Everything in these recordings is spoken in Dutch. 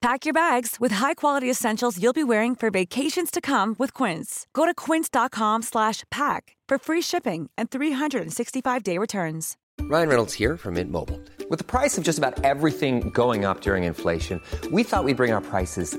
Pack your bags with high-quality essentials you'll be wearing for vacations to come with Quince. Go to quince.com/pack for free shipping and 365-day returns. Ryan Reynolds here from Mint Mobile. With the price of just about everything going up during inflation, we thought we'd bring our prices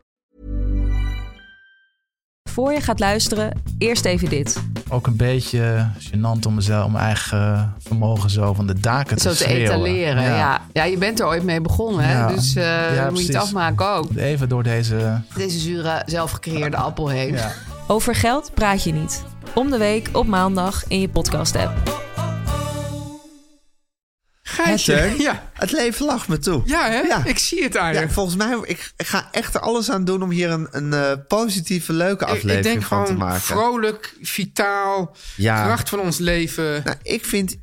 Voor je gaat luisteren, eerst even dit. Ook een beetje gênant om, mezelf, om mijn eigen eh, vermogen zo van de daken te Zo te schreeuwen. etaleren, ja. ja. je bent er ooit mee begonnen, hè? Ja. dus eh, Ja, dan moet je precies. het afmaken ook. Even door deze... Deze zure, zelfgecreëerde appel heen. Ja. Over geld praat je niet. Om de week op maandag in je podcast-app. Gijsje, Ja, het leven lacht me toe. ja hè? Ja. Ik zie het Ja, eigenlijk. volgens mij, ik ga echt er alles aan doen om hier een, een eh, positieve, leuke Ik- aflevering ik denk van te gewoon maken. vrolijk, vitaal, Ja. kracht van ons leven. Nou, ik vind,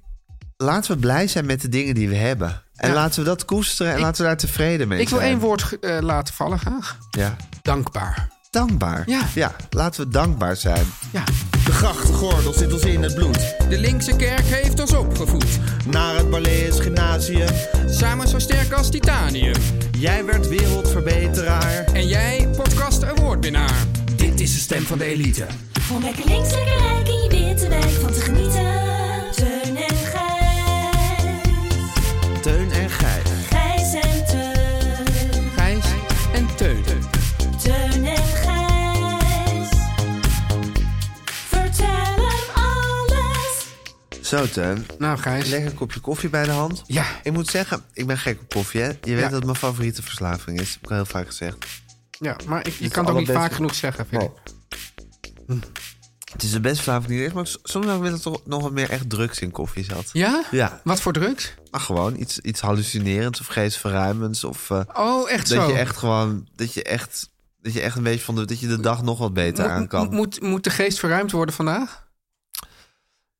laten we blij zijn met de dingen die we hebben. En Ja. laten we dat koesteren en Ik- laten we daar tevreden mee Ik wil zijn. één woord eh, laten vallen graag. Ja. Dankbaar. Dankbaar. Ja. laten we dankbaar zijn. Ja. De grachtgordel zit ons in het bloed. De linkse kerk heeft ons opgevoed. Naar het Barlees Gymnasium. Samen zo sterk als titanium. Jij werd wereldverbeteraar. En jij, podcast awardwinnaar. Dit is de stem van de elite. Om lekker links, lekker rijk in je witte wijk van te genieten. Teun en Gijs. Teun en Gijs. Gijs en Teun. Gijs en Teun. Teun en Gijs. Vertel hem alles. Zo, Teun. Nou Gijs. Leg een kopje koffie bij de hand. Ja. Ik moet zeggen, ik ben gek op koffie, hè? Je weet Ja. dat het mijn favoriete verslaving is. Heb ik al heel vaak gezegd. Ja, maar ik, je Het kan het ook niet allerbeste. vaak genoeg zeggen, vind ik. Oh. Het is de beste verslaving die er is, maar s- soms wil ik toch nog wat meer echt drugs in koffie zat. Ja? Ja. Wat voor drugs? Maar gewoon iets, iets hallucinerends of geestverruimends. Of eh, Oh, echt zo. dat je echt gewoon, dat je echt, dat je echt een beetje van de, dat je de dag nog wat beter Mo- aan mo- kan. Moet, moet de geest verruimd worden vandaag?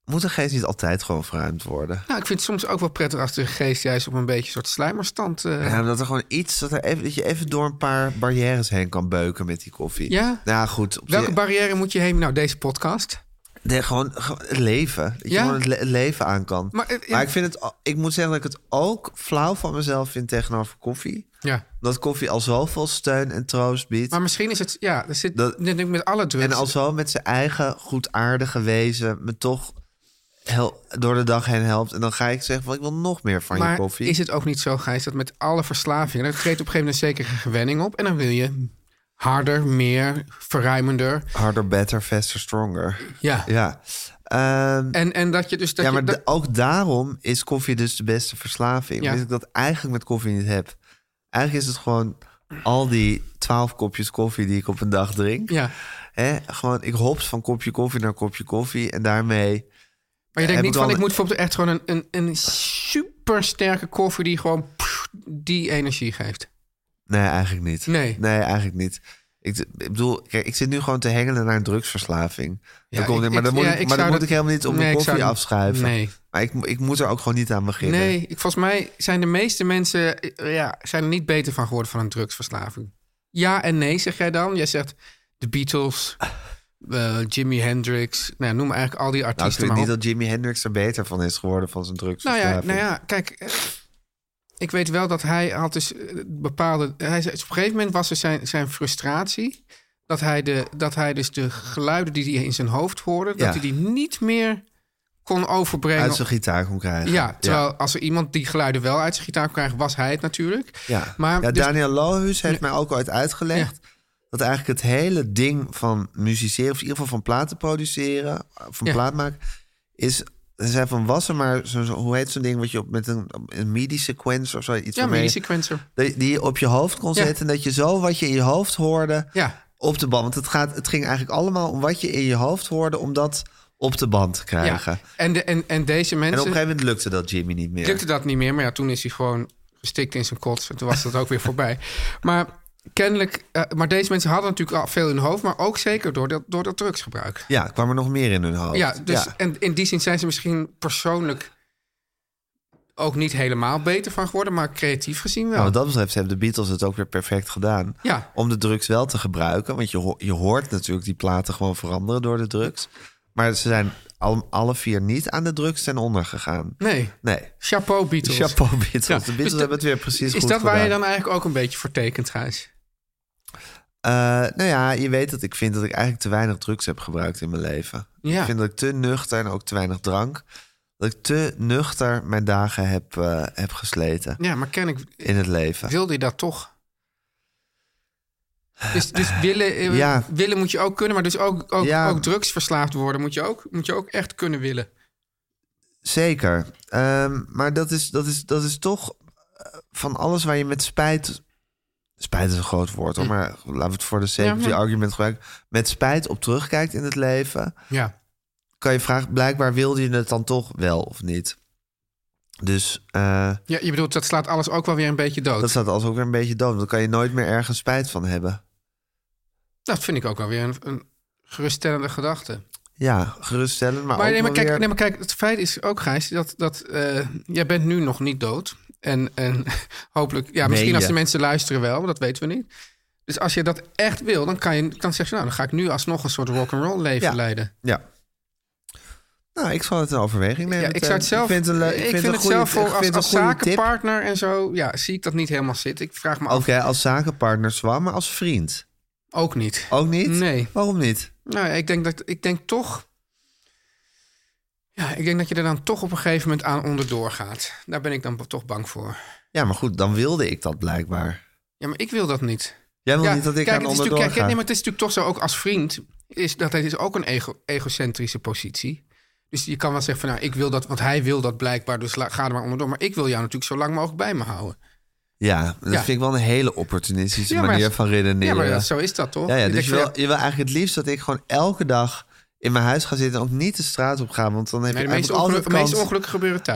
Moet een geest niet altijd gewoon verruimd worden? Nou, ik vind het soms ook wel prettig als de geest juist op een beetje een soort slijmerstand. eh, Ja, dat er gewoon iets, dat, er even, dat je even door een paar barrières heen kan beuken met die koffie. Ja? Nou ja, goed. Op Welke zich- barrière moet je heen? Nou, deze podcast. Nee, gewoon, gewoon het leven. Dat je Ja? gewoon het, le- het leven aan kan. Maar, eh, ik, vind het, al- ik moet zeggen dat ik het ook flauw van mezelf vind tegenover koffie. Ja. Omdat koffie al zoveel steun en troost bieet. Maar misschien is het, ja, er zit Dat- net met alle drugs. en al zo met zijn eigen goedaardige wezen me toch hel- door de dag heen helpt. En dan ga ik zeggen van ik wil nog meer van je maar koffie. is het ook niet zo, Gijs, dat met alle verslavingen... dan treedt op een gegeven moment een zekere gewenning op... en dan wil je harder, meer, verruimender. Harder, better, faster, stronger. Ja. Ja. Ehm, En, en dat je dus... Dat ja, maar je, dat- de- ook daarom is koffie dus de beste verslaving. Ja. Omdat ik dat eigenlijk met koffie niet heb. Eigenlijk is het gewoon al die twaalf kopjes koffie die ik op een dag drink. ja. Hè? Gewoon, ik hops van kopje koffie naar kopje koffie. En daarmee... Maar je denkt Heb niet ik wel van, ik een- moet bijvoorbeeld echt gewoon een, een, een supersterke koffie... die gewoon pff, die energie geeft. Nee, eigenlijk niet. Nee. Nee, eigenlijk niet. Ik, ik bedoel, kijk, ik zit nu gewoon te hengelen naar een drugsverslaving. Ja, dat ik- komt, niet- maar ik- dan moet, ja, ik, ik maar dan zou moet dat- ik helemaal niet op mijn Nee, ik zou koffie dat- afschuiven. nee. Maar ik, mo- ik moet er ook gewoon niet aan beginnen. Nee, ik, volgens mij zijn de meeste mensen eh, ja, zijn er niet beter van geworden van een drugsverslaving. Ja en nee, zeg jij dan? Jij zegt de Beatles, eh, Jimi Hendrix, nou, ja, noem eigenlijk al die Nou, ik artiesten vind niet maar op. dat Jimi Hendrix er beter van is geworden van zijn Nou ja, drugsverslaving. nou ja, kijk, eh, ik weet wel dat hij had dus eh, bepaalde... Hij, zei- op een gegeven moment was er zijn, zijn frustratie... Dat hij, de, dat hij dus de geluiden die hij in zijn hoofd hoorde... Ja. dat hij die niet meer kon overbrengen. Uit zijn gitaar kon krijgen. Ja, terwijl als er iemand die geluiden wel uit zijn gitaar kon krijgen, was hij het natuurlijk. Ja, maar ja dus- Daniel Lohuus heeft mij ook ooit uitgelegd... dat eigenlijk het hele ding van musiceren... of in ieder geval van platen produceren, van Ja. plaat maken... is Ze zei van, was er maar, zo, zo- hoe heet zo'n ding wat je op, met een, een midi-sequencer of zo, iets Ja, waarmee- midi-sequencer. Die, die je op je hoofd kon Ja. zetten en dat je zo wat je in je hoofd hoorde Ja. op de band. Want het, gaat, het ging eigenlijk allemaal om wat je in je hoofd hoorde om dat op de band te krijgen. Ja. En, de, en, en deze En op mensen... een gegeven moment lukte dat Jimmy niet meer. Lukte dat niet meer, maar ja, toen is hij gewoon gestikt in zijn kots. En toen was dat ook weer voorbij. Maar kennelijk, eh, maar deze mensen hadden natuurlijk al veel in hun hoofd, maar ook zeker door dat, door dat drugsgebruik. Ja, kwam er nog meer in hun hoofd. Ja, dus En in die zin zijn ze misschien persoonlijk ook niet helemaal beter van geworden, maar creatief gezien wel. Nou, wat dat betreft hebben de Beatles het ook weer perfect gedaan. Ja. Om de drugs wel te gebruiken. Want je, ho- je hoort natuurlijk die platen gewoon veranderen door de drugs. Maar ze zijn al- alle vier niet aan de drugs ten onder gegaan. Nee. Nee. Chapeau Beatles. Chapeau Beatles. Ja, De Beatles dus dat- hebben het weer precies Is goed dat waar je gedaan. dan eigenlijk ook een beetje voor tekent, Gijs? Eh, nou ja, je weet dat ik vind dat ik eigenlijk te weinig drugs heb gebruikt in mijn leven. Ja. Ik vind dat ik te nuchter en ook te weinig drank. Dat ik te nuchter mijn dagen heb, eh, heb gesleten Ja, maar kennelijk in het leven. wilde je dat toch. Dus, dus willen, eh, Ja. willen moet je ook kunnen, maar dus ook, ook, Ja. ook drugsverslaafd worden moet je ook, moet je ook echt kunnen willen. Zeker. Ehm, maar dat is, dat, is, dat is toch eh, van alles waar je met spijt. Spijt is een groot woord hoor, maar laten we het voor de sake Hm. Ja, of ja. the argument gebruiken. Met spijt op terugkijkt in het leven. Ja. Kan je vragen, blijkbaar wilde je het dan toch wel of niet? Dus eh, ja. Je bedoelt, dat slaat alles ook wel weer een beetje dood. dat staat als ook weer een beetje dood. want Dan kan je nooit meer ergens spijt van hebben. Dat vind ik ook wel weer een, een geruststellende gedachte. Ja, geruststellend, maar, Maar, ook nee, maar wel kijk, weer- nee, maar kijk, het feit is ook, Gijs, dat, dat eh, jij bent nu nog niet dood. En, en hopelijk, ja, Meen misschien als je? de mensen luisteren wel, maar dat weten we niet. Dus als je dat echt wil, dan kan je dan zeg je, nou, dan ga ik nu alsnog een soort rock'n'roll leven Ja. leiden. Ja. Nou, ik zal het in overweging nemen. Ja, ik zou het Teun. zelf. Ik vind vind, het een le- ik vind het het goede- zelf ik voor als, vind het als een goede tip. zakenpartner en zo. Ja, zie ik dat niet helemaal zitten. Ik vraag me Oké, af. als zakenpartner zwaar, maar als vriend. Ook niet. Ook niet? Nee. Waarom niet? Nou, ja, ik denk dat ik denk toch. Ja, ik denk dat je er dan toch op een gegeven moment aan onderdoor gaat. Daar ben ik dan toch bang voor. Ja, maar goed, dan wilde ik dat blijkbaar. Ja, maar ik wil dat niet. Jij wil ja, niet dat ik kijk, aan het is natuurlijk- onderdoor kijk, ga. nee, maar het is natuurlijk toch zo, ook als vriend, is dat het is ook een ego, egocentrische positie. Dus je kan wel zeggen van, nou, ik wil dat, want hij wil dat blijkbaar, dus la- ga er maar onderdoor. Maar ik wil jou natuurlijk zo lang mogelijk bij me houden. Ja, dat Ja. vind ik wel een hele opportunistische Ja, maar- manier van Ja, redeneren. maar dat- zo is dat toch? Ja, ja, Ik dus denk je van, wil, ja, je wil eigenlijk het liefst dat ik gewoon elke dag in mijn huis ga zitten... en ook niet de straat op ga, want dan heb Nee, de je meeste, ongeluk- eigenlijk altijd de meeste kans- ongelukken gebeuren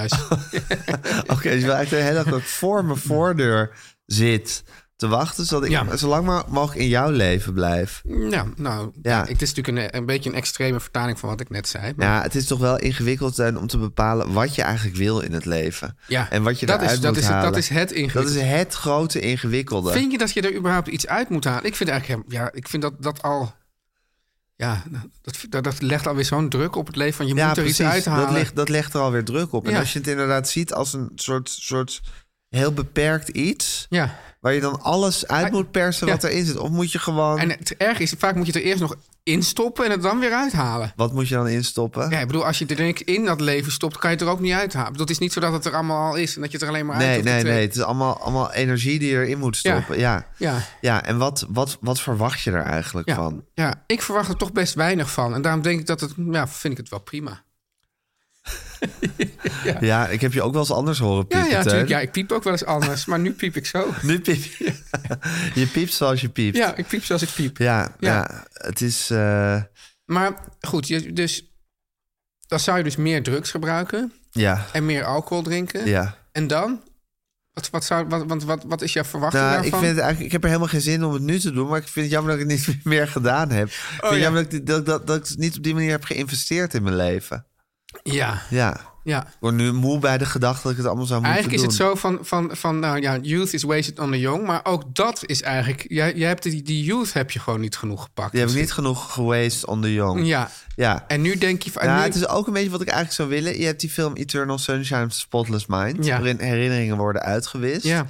thuis. Oké, dus je wil eigenlijk de hele dag dat ik voor mijn voordeur zit te wachten... zodat ik Ja. zo lang maar mogelijk in jouw leven blijf. ja, nou, Ja. ja. het is natuurlijk een, een beetje een extreme vertaling van wat ik net zei. Maar Ja, het is toch wel ingewikkeld Teun, om te bepalen wat je eigenlijk wil in het leven. Ja, en wat je dat daaruit is- moet dat is het- dat halen. is het ingewikkelde. Dat is het grote ingewikkelde. Vind je dat je er überhaupt iets uit moet halen? Ik vind eigenlijk, hem- ja, ik vind dat, dat al... Ja, dat, dat, dat legt alweer zo'n druk op het leven van je moet er iets uithalen. Dat legt, dat legt er alweer druk op. En Ja. als je het inderdaad ziet als een soort, soort heel beperkt iets... Ja. waar je dan alles uit moet persen wat Ja. erin zit. Of moet je gewoon... En het erg is, vaak moet je het er eerst nog instoppen en het dan weer uithalen. Wat moet je dan instoppen? Ja, ik bedoel, als je er niks in dat leven stopt, kan je het er ook niet uithalen. Ik bedoel, het is niet zo dat het er allemaal al is en dat je het er alleen maar uit Nee, hoeft te nee, nee. trekken. Het is allemaal, allemaal energie die je erin moet Ja. stoppen. Ja, Ja. Ja, en wat, wat, wat verwacht je er eigenlijk Ja. van? Ja, ik verwacht er toch best weinig van. En daarom denk ik dat het, ja, vind ik het wel prima. Ja. ik heb je ook wel eens anders horen Ja, piepen, ja, Teun. natuurlijk. Ja, ik piep ook wel eens anders, maar nu piep ik zo. Nu piep je. Je piept zoals je piept. Ja, ik piep zoals ik piep. Ja, ja. Ja. het is... eh, Maar goed, je, dus dan zou je dus meer drugs gebruiken ja, en meer alcohol drinken. ja. En dan? Wat, wat, zou, wat, want wat, wat is jouw verwachting Nou, ik, daarvan? vind het eigenlijk, ik heb er helemaal geen zin om het nu te doen, maar ik vind het jammer dat ik het niet meer gedaan heb. ik vind het Oh, ja. jammer dat ik, dit- dat, dat, dat ik het niet op die manier heb geïnvesteerd in mijn leven. Ja, Ja. ja. Ik word nu moe bij de gedachte dat ik het allemaal zou moeten Eigenlijk is het doen. zo van, van, van, nou ja, youth is wasted on the young. Maar ook dat is eigenlijk, jij, jij hebt die, die youth heb je gewoon niet genoeg gepakt. Die heb ik niet genoeg geweest on the young. Ja, Ja. en nu denk je van... Ja, nu- het is ook een beetje wat ik eigenlijk zou willen. Je hebt die film Eternal Sunshine of the Spotless Mind... Ja. waarin herinneringen worden uitgewist. ja.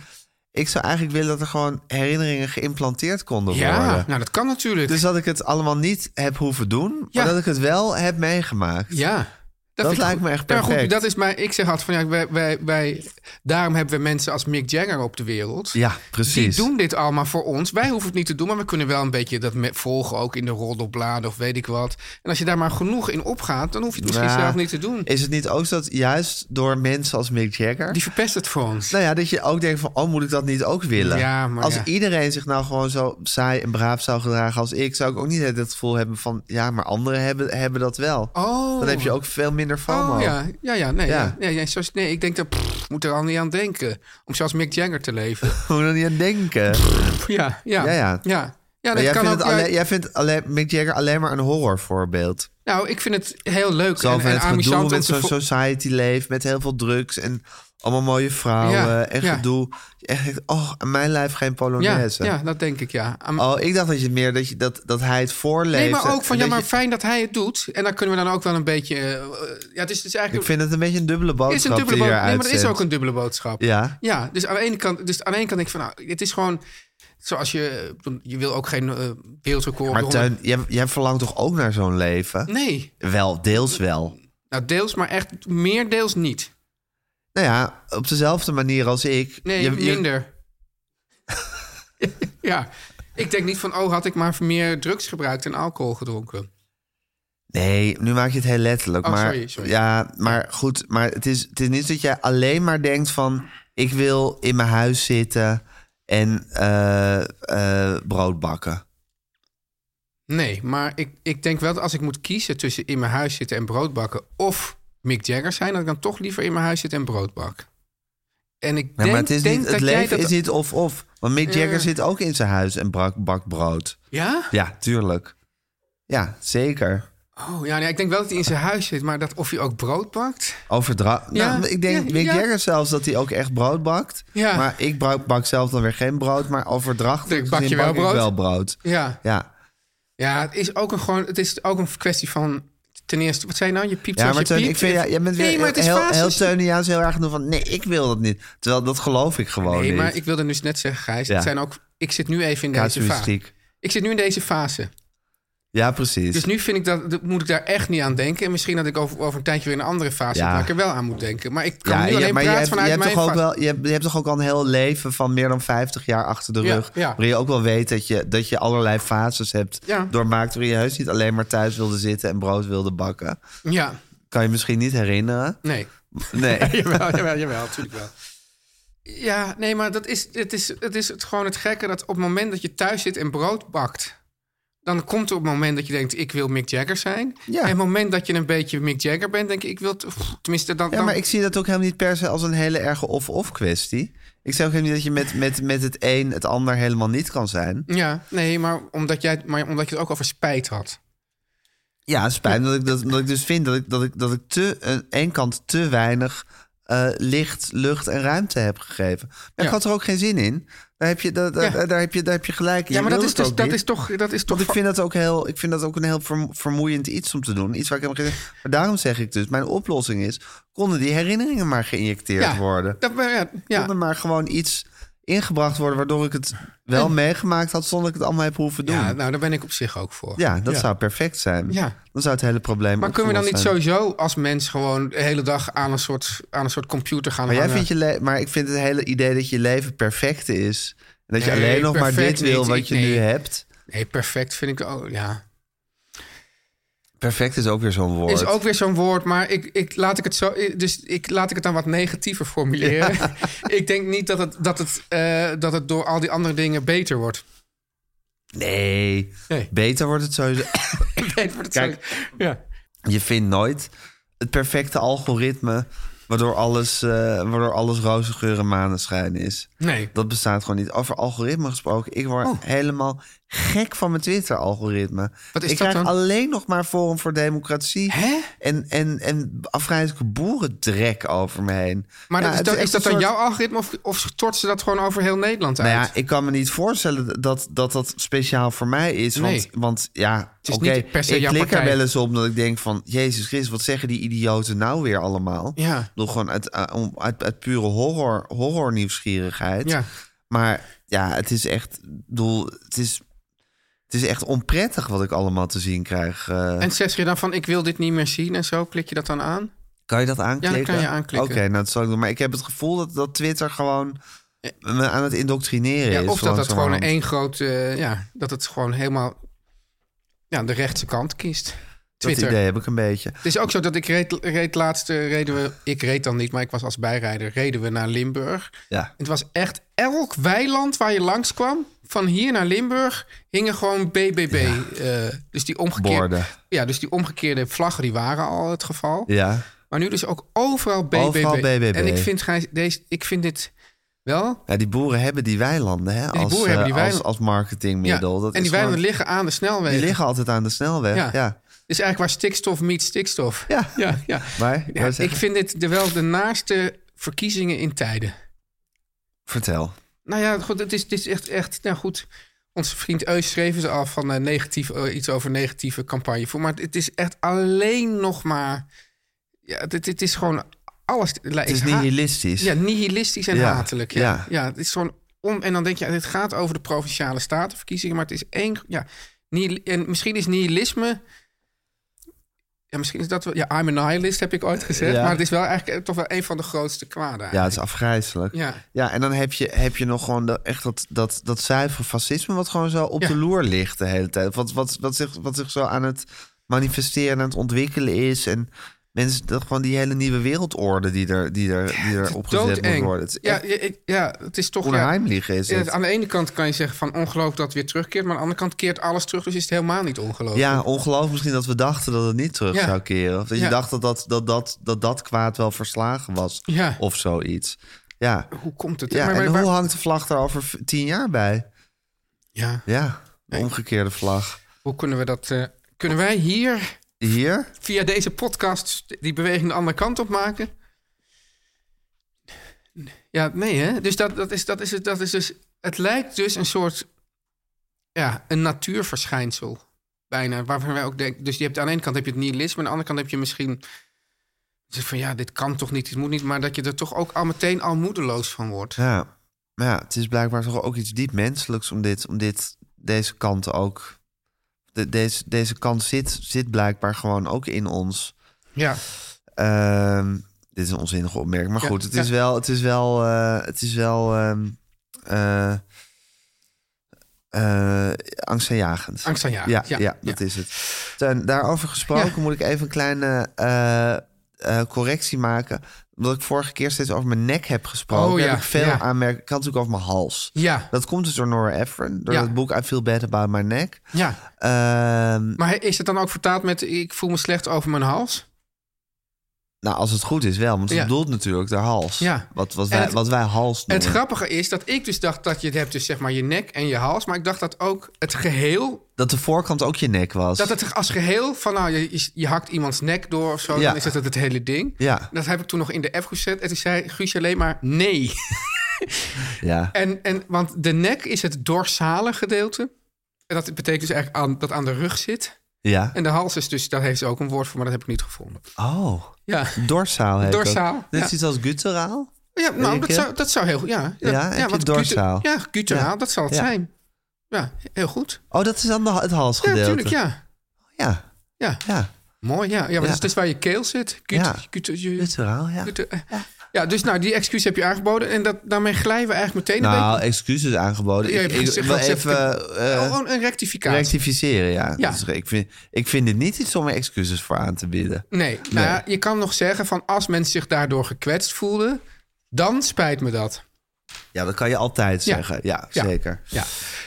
Ik zou eigenlijk willen dat er gewoon herinneringen geïmplanteerd konden ja, worden. nou dat kan natuurlijk. Dus dat ik het allemaal niet heb hoeven doen... Ja. maar dat ik het wel heb meegemaakt. Ja, Dat vind ik lijkt goed. me echt Ja, goed, perfect. dat is mijn, ik zeg altijd van ja, wij, wij, wij, daarom hebben we mensen als Mick Jagger op de wereld. Ja, precies. Die doen dit allemaal voor ons. Wij hoeven het niet te doen, maar we kunnen wel een beetje dat me- volgen. Ook in de roddelbladen of weet ik wat. En als je daar maar genoeg in opgaat, dan hoef je het misschien Nou, zelf niet te doen. Is het niet ook zo dat juist door mensen als Mick Jagger... Die verpest het voor ons. Nou ja, dat je ook denkt van, oh, moet ik dat niet ook willen? Ja, maar als ja. iedereen zich nou gewoon zo saai en braaf zou gedragen als ik... zou ik ook niet het gevoel hebben van, ja, maar anderen hebben, hebben dat wel. Oh. Dan heb je ook veel minder FOMO. Oh ja, ja, ja, nee, Ja. ja. ja, ja, zoals, nee ik denk dat pff, moet er al niet aan denken om zoals Mick Jagger te leven. Moet je er niet aan denken. ja, ja, Ja, ja. ja. Ja, Maar dat jij, kan vindt ook. het ja, alleen, jij vindt alleen, Mick Jagger alleen maar een horrorvoorbeeld. nou, ik vind het heel leuk Zo en, van en het gedoe amusant om met te zo'n vo- society leeft, met heel veel drugs en allemaal mooie vrouwen Ja, en ja. gedoe. Echt, oh, aan mijn lijf geen ja, Polonaise. ja, dat denk ik, ja. Am- Oh, ik dacht dat je het meer dat, je, dat, dat hij het voorleest. Nee, maar ook van, en ja, dat maar je- fijn dat hij het doet. En dan kunnen we dan ook wel een beetje... eh, ja, het is, het is eigenlijk... ik vind het een beetje een dubbele boodschap. is een dubbele die je boodschap. Nee, maar er is uitzendt. ook een dubbele boodschap. Ja. Ja, dus aan de ene kant, dus aan de ene kant denk ik van, nou, het is gewoon... Zoals je... Je wil ook geen eh, wereldrecord... Maar honderd- Tuin, jij, jij verlangt toch ook naar zo'n leven? Nee. Wel, deels wel. Nou, deels, maar echt meer deels niet. Nou ja, op dezelfde manier als ik. Nee, Je- je- minder. ja. Ik denk niet van, oh, had ik maar meer drugs gebruikt en alcohol gedronken. Nee, nu maak je het heel letterlijk. Oh, maar, sorry, sorry. Ja, maar goed, maar het is, het is niet dat jij alleen maar denkt van... ik wil in mijn huis zitten en eh, eh, brood bakken. Nee, maar ik, ik denk wel dat als ik moet kiezen tussen in mijn huis zitten en brood bakken of Mick Jagger zijn, dat ik dan toch liever in mijn huis zit en brood bak. En ik Ja, denk, maar het, is denk niet, dat het jij leven dat... Eh. is niet of-of. Want Mick Ja. Jagger zit ook in zijn huis en brak, bakt brood. Ja? Ja, tuurlijk. Ja, zeker. Oh, ja, nee, ik denk wel dat hij in zijn huis zit, maar dat of hij ook brood bakt. Overdra Ja, nou, ik denk ja, Mick ja. Jagger zelfs dat hij ook echt brood bakt. Ja. Maar ik bak, bak zelf dan weer geen brood. Maar overdrachtelijk Ik bak je gezien wel ik brood. wel brood. Ja. Ja, Ja, het is ook een, gewoon, het is ook een kwestie van. Ten eerste, wat zei je nou? Je piept ja zoals maar je Teun, piept. ik vind, ja, jij bent weer nee, maar het is heel, heel fases. Teuniaans heel erg aan het doen van... nee, ik wil dat niet. Terwijl dat geloof ik gewoon Nee, niet. maar ik wilde dus net zeggen, Gijs. Ja. Het zijn ook, ik zit nu even in deze fase. Casuïstiek. Ik zit nu in deze fase. Ja, precies. Dus nu vind ik dat, dat- moet ik daar echt niet aan denken. En misschien dat ik over, over een tijdje weer in een andere fase Ja. zit... waar ik er wel aan moet denken. Maar ik kan ja, nu je- alleen maar je praten hebt, je vanuit hebt mijn toch ook fase. wel, je, hebt, je hebt toch ook al een heel leven van meer dan 50 jaar achter de Ja, rug. ja. Waarin je ook wel weet dat je, dat je allerlei fases hebt Ja. doormaakt. Waarin je heus niet alleen maar thuis wilde zitten en brood wilde bakken. Ja, Kan je misschien niet herinneren. nee. Nee. jawel, jawel, jawel, natuurlijk wel. Ja, nee, maar dat is, het is, het is het, gewoon het gekke... dat op het moment dat je thuis zit en brood bakt... dan komt er op het moment dat je denkt... ik wil Mick Jagger zijn. En het moment dat je een beetje Mick Jagger bent... denk ik, ik wil... t- pff, Tenminste, dan... Ja, dan- maar ik zie dat ook helemaal niet per se als een hele erge of-of kwestie. Ik zeg ook helemaal niet dat je met, met, met het een het ander helemaal niet kan zijn. Ja, nee, maar omdat, jij, maar omdat je het ook over spijt had. Ja, spijt me dat ik, dat, dat ik dus vind dat ik, dat ik, dat ik te, aan één kant te weinig eh, licht, lucht en ruimte heb gegeven. Maar ik Ja. had er ook geen zin in. Daar heb je, daar, daar, Ja. daar heb je, daar heb je gelijk in. Ja, maar Ik dat wil is, het dus, ook dat niet. is toch... Dat is toch Want ik vind dat ook, heel, ik vind dat ook een heel verm- vermoeiend iets om te doen. Iets waar ik helemaal geen... Maar daarom zeg ik dus, mijn oplossing is... konden die herinneringen maar geïnjecteerd Ja, worden. dat, maar ja, ja. Kon er maar gewoon iets ingebracht worden... waardoor ik het wel meegemaakt had... zonder dat ik het allemaal heb hoeven doen. ja, Ja, nou, daar ben ik op zich ook voor. dat zou perfect zijn. Ja. Dan zou het hele probleem Maar kunnen we dan niet opgelost zijn. sowieso als mens gewoon de hele dag aan een soort, aan een soort computer gaan Maar, jij hangen? vindt je le- maar ik vind het hele idee dat je leven perfect is... en dat je Nee, alleen nog maar perfect dit wil niet. wat Ik- je nee. nu hebt... Nee, perfect vind ik ook, ja. Perfect is ook weer zo'n woord. Is ook weer zo'n woord, maar ik, ik, laat ik het zo, dus ik, laat ik het dan wat negatiever formuleren. ik denk niet dat het, dat, het, eh, dat het door al die andere dingen beter wordt. Nee. Nee. beter wordt het sowieso... Beter wordt het Kijk. zo- Ja. Je vindt nooit het perfecte algoritme waardoor alles, eh waardoor alles roze geur en maneschijn is. Nee. Dat bestaat gewoon niet. Over algoritme gesproken, ik word helemaal gek van mijn Twitter-algoritme. Oh. Wat is ik dat krijg dan? alleen nog maar Forum voor Democratie Hè? en, en, en afgrijzelijke boerendrek over me heen. Maar Ja, dat is, het dan- echt is dat een dan soort- jouw algoritme of, of stort ze dat gewoon over heel Nederland uit? nou ja, ik kan me niet voorstellen dat dat, dat speciaal voor mij is. Want, Nee. want ja, is oké, niet per se ik jouw klik er partij. wel eens op dat ik denk van... Jezus Christus, wat zeggen die idioten nou weer allemaal? Ja. Ik bedoel, gewoon uit, eh, om- uit, uit pure horror, horror nieuwsgierigheid. Ja. Maar ja, het is echt... ik Bedoel, het is... Het is echt onprettig wat ik allemaal te zien krijg. eh. En zeg je dan van ik wil dit niet meer zien en zo, klik je dat dan aan? Kan je dat aanklikken? Ja, dat kan je aanklikken. Oké, nou, dat zal ik doen. Maar ik heb het gevoel dat, dat Twitter gewoon me aan het indoctrineren Ja, is. of dat het gewoon langzamerhand. één groot, eh, ja, dat het gewoon helemaal ja, de rechtse kant kiest. Twitter. Dat idee heb ik een beetje. Het is ook zo dat ik reed, reed laatst, eh, reden we, ik reed dan niet, maar ik was als bijrijder, reden we naar Limburg. Ja. Het was echt elk weiland waar je langskwam, van hier naar Limburg, hingen gewoon BBB. eh, dus, die omgekeerde, Borden. ja, dus die omgekeerde vlaggen, die waren al het geval. Ja. Maar nu dus ook overal BBB. Overal BBB. En ik vind, Gijs, deze, ik vind dit wel ja, die boeren hebben die weilanden hè, die als, boeren hebben die eh, als- weilanden. als, marketingmiddel. dat en is die weilanden gewoon- liggen aan de snelweg. die liggen altijd aan de snelweg. Ja. Dus eigenlijk waar stikstof meet stikstof. Ja, ja, ja. Maar, Ja, wou ik zeggen? vind dit de, wel de naaste verkiezingen in tijden. Vertel. Nou ja, goed, het is, het is echt, echt, nou goed. Onze vriend Eus schreef ze al van eh, negatief, eh, iets over negatieve campagne voor. Maar het is echt alleen nog maar. Ja, het, het, het is gewoon alles. Het is nihilistisch. Ja, nihilistisch en Ja, hatelijk. Ja. Ja. ja. het is gewoon om. En dan denk je, het gaat over de provinciale statenverkiezingen. Maar het is één. Ja, nihil, en misschien is nihilisme. Ja, misschien is dat wel. Ja, I'm a nihilist heb ik ooit gezegd. Ja. Maar het is wel eigenlijk eh, toch wel een van de grootste kwaden. Ja, het is afgrijzelijk. Ja. en dan heb je, heb je nog gewoon de- echt dat, dat, dat zuivere fascisme... wat gewoon zo op Ja. de loer ligt de hele tijd. Wat, wat, wat, zich, wat zich zo aan het manifesteren, aan het ontwikkelen is... en mensen, dat gewoon die hele nieuwe wereldorde die er, die er, die er opgezet moet Doodeng. worden. Het is ja, echt ja, ik- ja, het is toch... onheimlich is Ja, het. aan de ene kant kan je zeggen van ongeloof dat het weer terugkeert... maar aan de andere kant keert alles terug, dus is het helemaal niet ongeloof. Ja, ongeloof misschien dat we dachten dat het niet terug Ja. zou keren. Of dat Ja. je dacht dat dat, dat, dat, dat dat kwaad wel verslagen was. Ja. Of zoiets. Ja. Hoe komt het? Ja, Maar- maar en waar- hoe hangt de vlag er over v- tien jaar bij? Ja. Ja, de omgekeerde vlag. Hoe kunnen we dat... eh, kunnen wij hier Hier? via deze podcast die beweging de andere kant op maken? Ja, nee hè? Dus dat, dat, is, dat, is, het- dat is dus... Het lijkt dus een soort... Ja, een natuurverschijnsel. Bijna, waarvan wij ook denken... Dus je hebt, aan de ene kant heb je het nihilisme... aan de andere kant heb je misschien... zeg van ja, dit kan toch niet, dit moet niet... maar dat je er toch ook al meteen al moedeloos van wordt. Ja. Maar ja, het is blijkbaar toch ook iets diep menselijks om, dit, om dit, deze kant ook... De, deze, deze kant zit, zit blijkbaar gewoon ook in ons. Ja. Ehm, dit is een onzinnige opmerking. Maar Ja, goed, het ja. is wel. Het is wel. eh, het is wel ehm, eh, eh, angstaanjagend. Angstaanjagend, Ja, ja, ja, ja. dat is het. Teun, daarover gesproken moet ik even een kleine eh, eh, correctie maken. Omdat ik vorige keer steeds over mijn nek heb gesproken. Oh, ja, Heb ik veel ja. aanmerkingen. Ik had natuurlijk over mijn hals. Ja. Dat komt dus door Nora Ephron. Door Ja. het boek I Feel Bad About My Neck. Ja. Ehm, Maar he- is het dan ook vertaald met ik voel me slecht over mijn hals? nou, als het goed is wel. Want ze Ja. bedoelt natuurlijk de hals. Ja. Wat, wat, En wij, het- wat wij hals En noemen. het grappige is dat ik dus dacht dat je het hebt dus zeg maar je nek en je hals, maar ik dacht dat ook het geheel, Dat de voorkant ook je nek was. dat het als geheel van nou je, je, je hakt iemands nek door of zo, Ja. dan is dat het, het hele ding. Ja. Dat heb ik toen nog in de app gezet en toen zei Guusje alleen maar nee. Ja. En, en, want de nek is het dorsale gedeelte. En dat betekent dus eigenlijk aan, dat aan de rug zit. Ja. En de hals is dus, daar heeft ze ook een woord voor, maar dat heb ik niet gevonden. Oh. Ja. Dorsaal heet Dorsaal, dat. Dit ja. is iets als gutteraal. Ja, nou, Denk dat je? zou, dat zou heel goed. Ja, Ja, heb je want dorsaal? gute- ja, guteraal, Ja. dat zal het Ja. zijn. Ja, heel goed. Oh, dat is dan de, ha- het halsgedeelte. Ja, natuurlijk, ja. Ja. ja. Ja. Mooi, ja. Ja, maar Ja. dat is dus waar je keel zit. Gut, Ja. gut- je- Gutteraal, ja. gut- eh. ja, dus nou, die excuus heb je aangeboden. En dat, daarmee glijden we eigenlijk meteen een Nou, beetje... excuses aangeboden. Ja, je Ik, hebt ik gezegd wil dat ze- even eh, Gewoon een rectificatie. rectificeren, ja. Ja. Dus ik, vind, ik vind dit niet iets om er excuses voor aan te bieden. Nee, nou, ja, je kan nog zeggen van als mensen zich daardoor gekwetst voelden, dan spijt me dat. Ja, dat kan je altijd Ja. zeggen. Ja, Ja. zeker. Ja.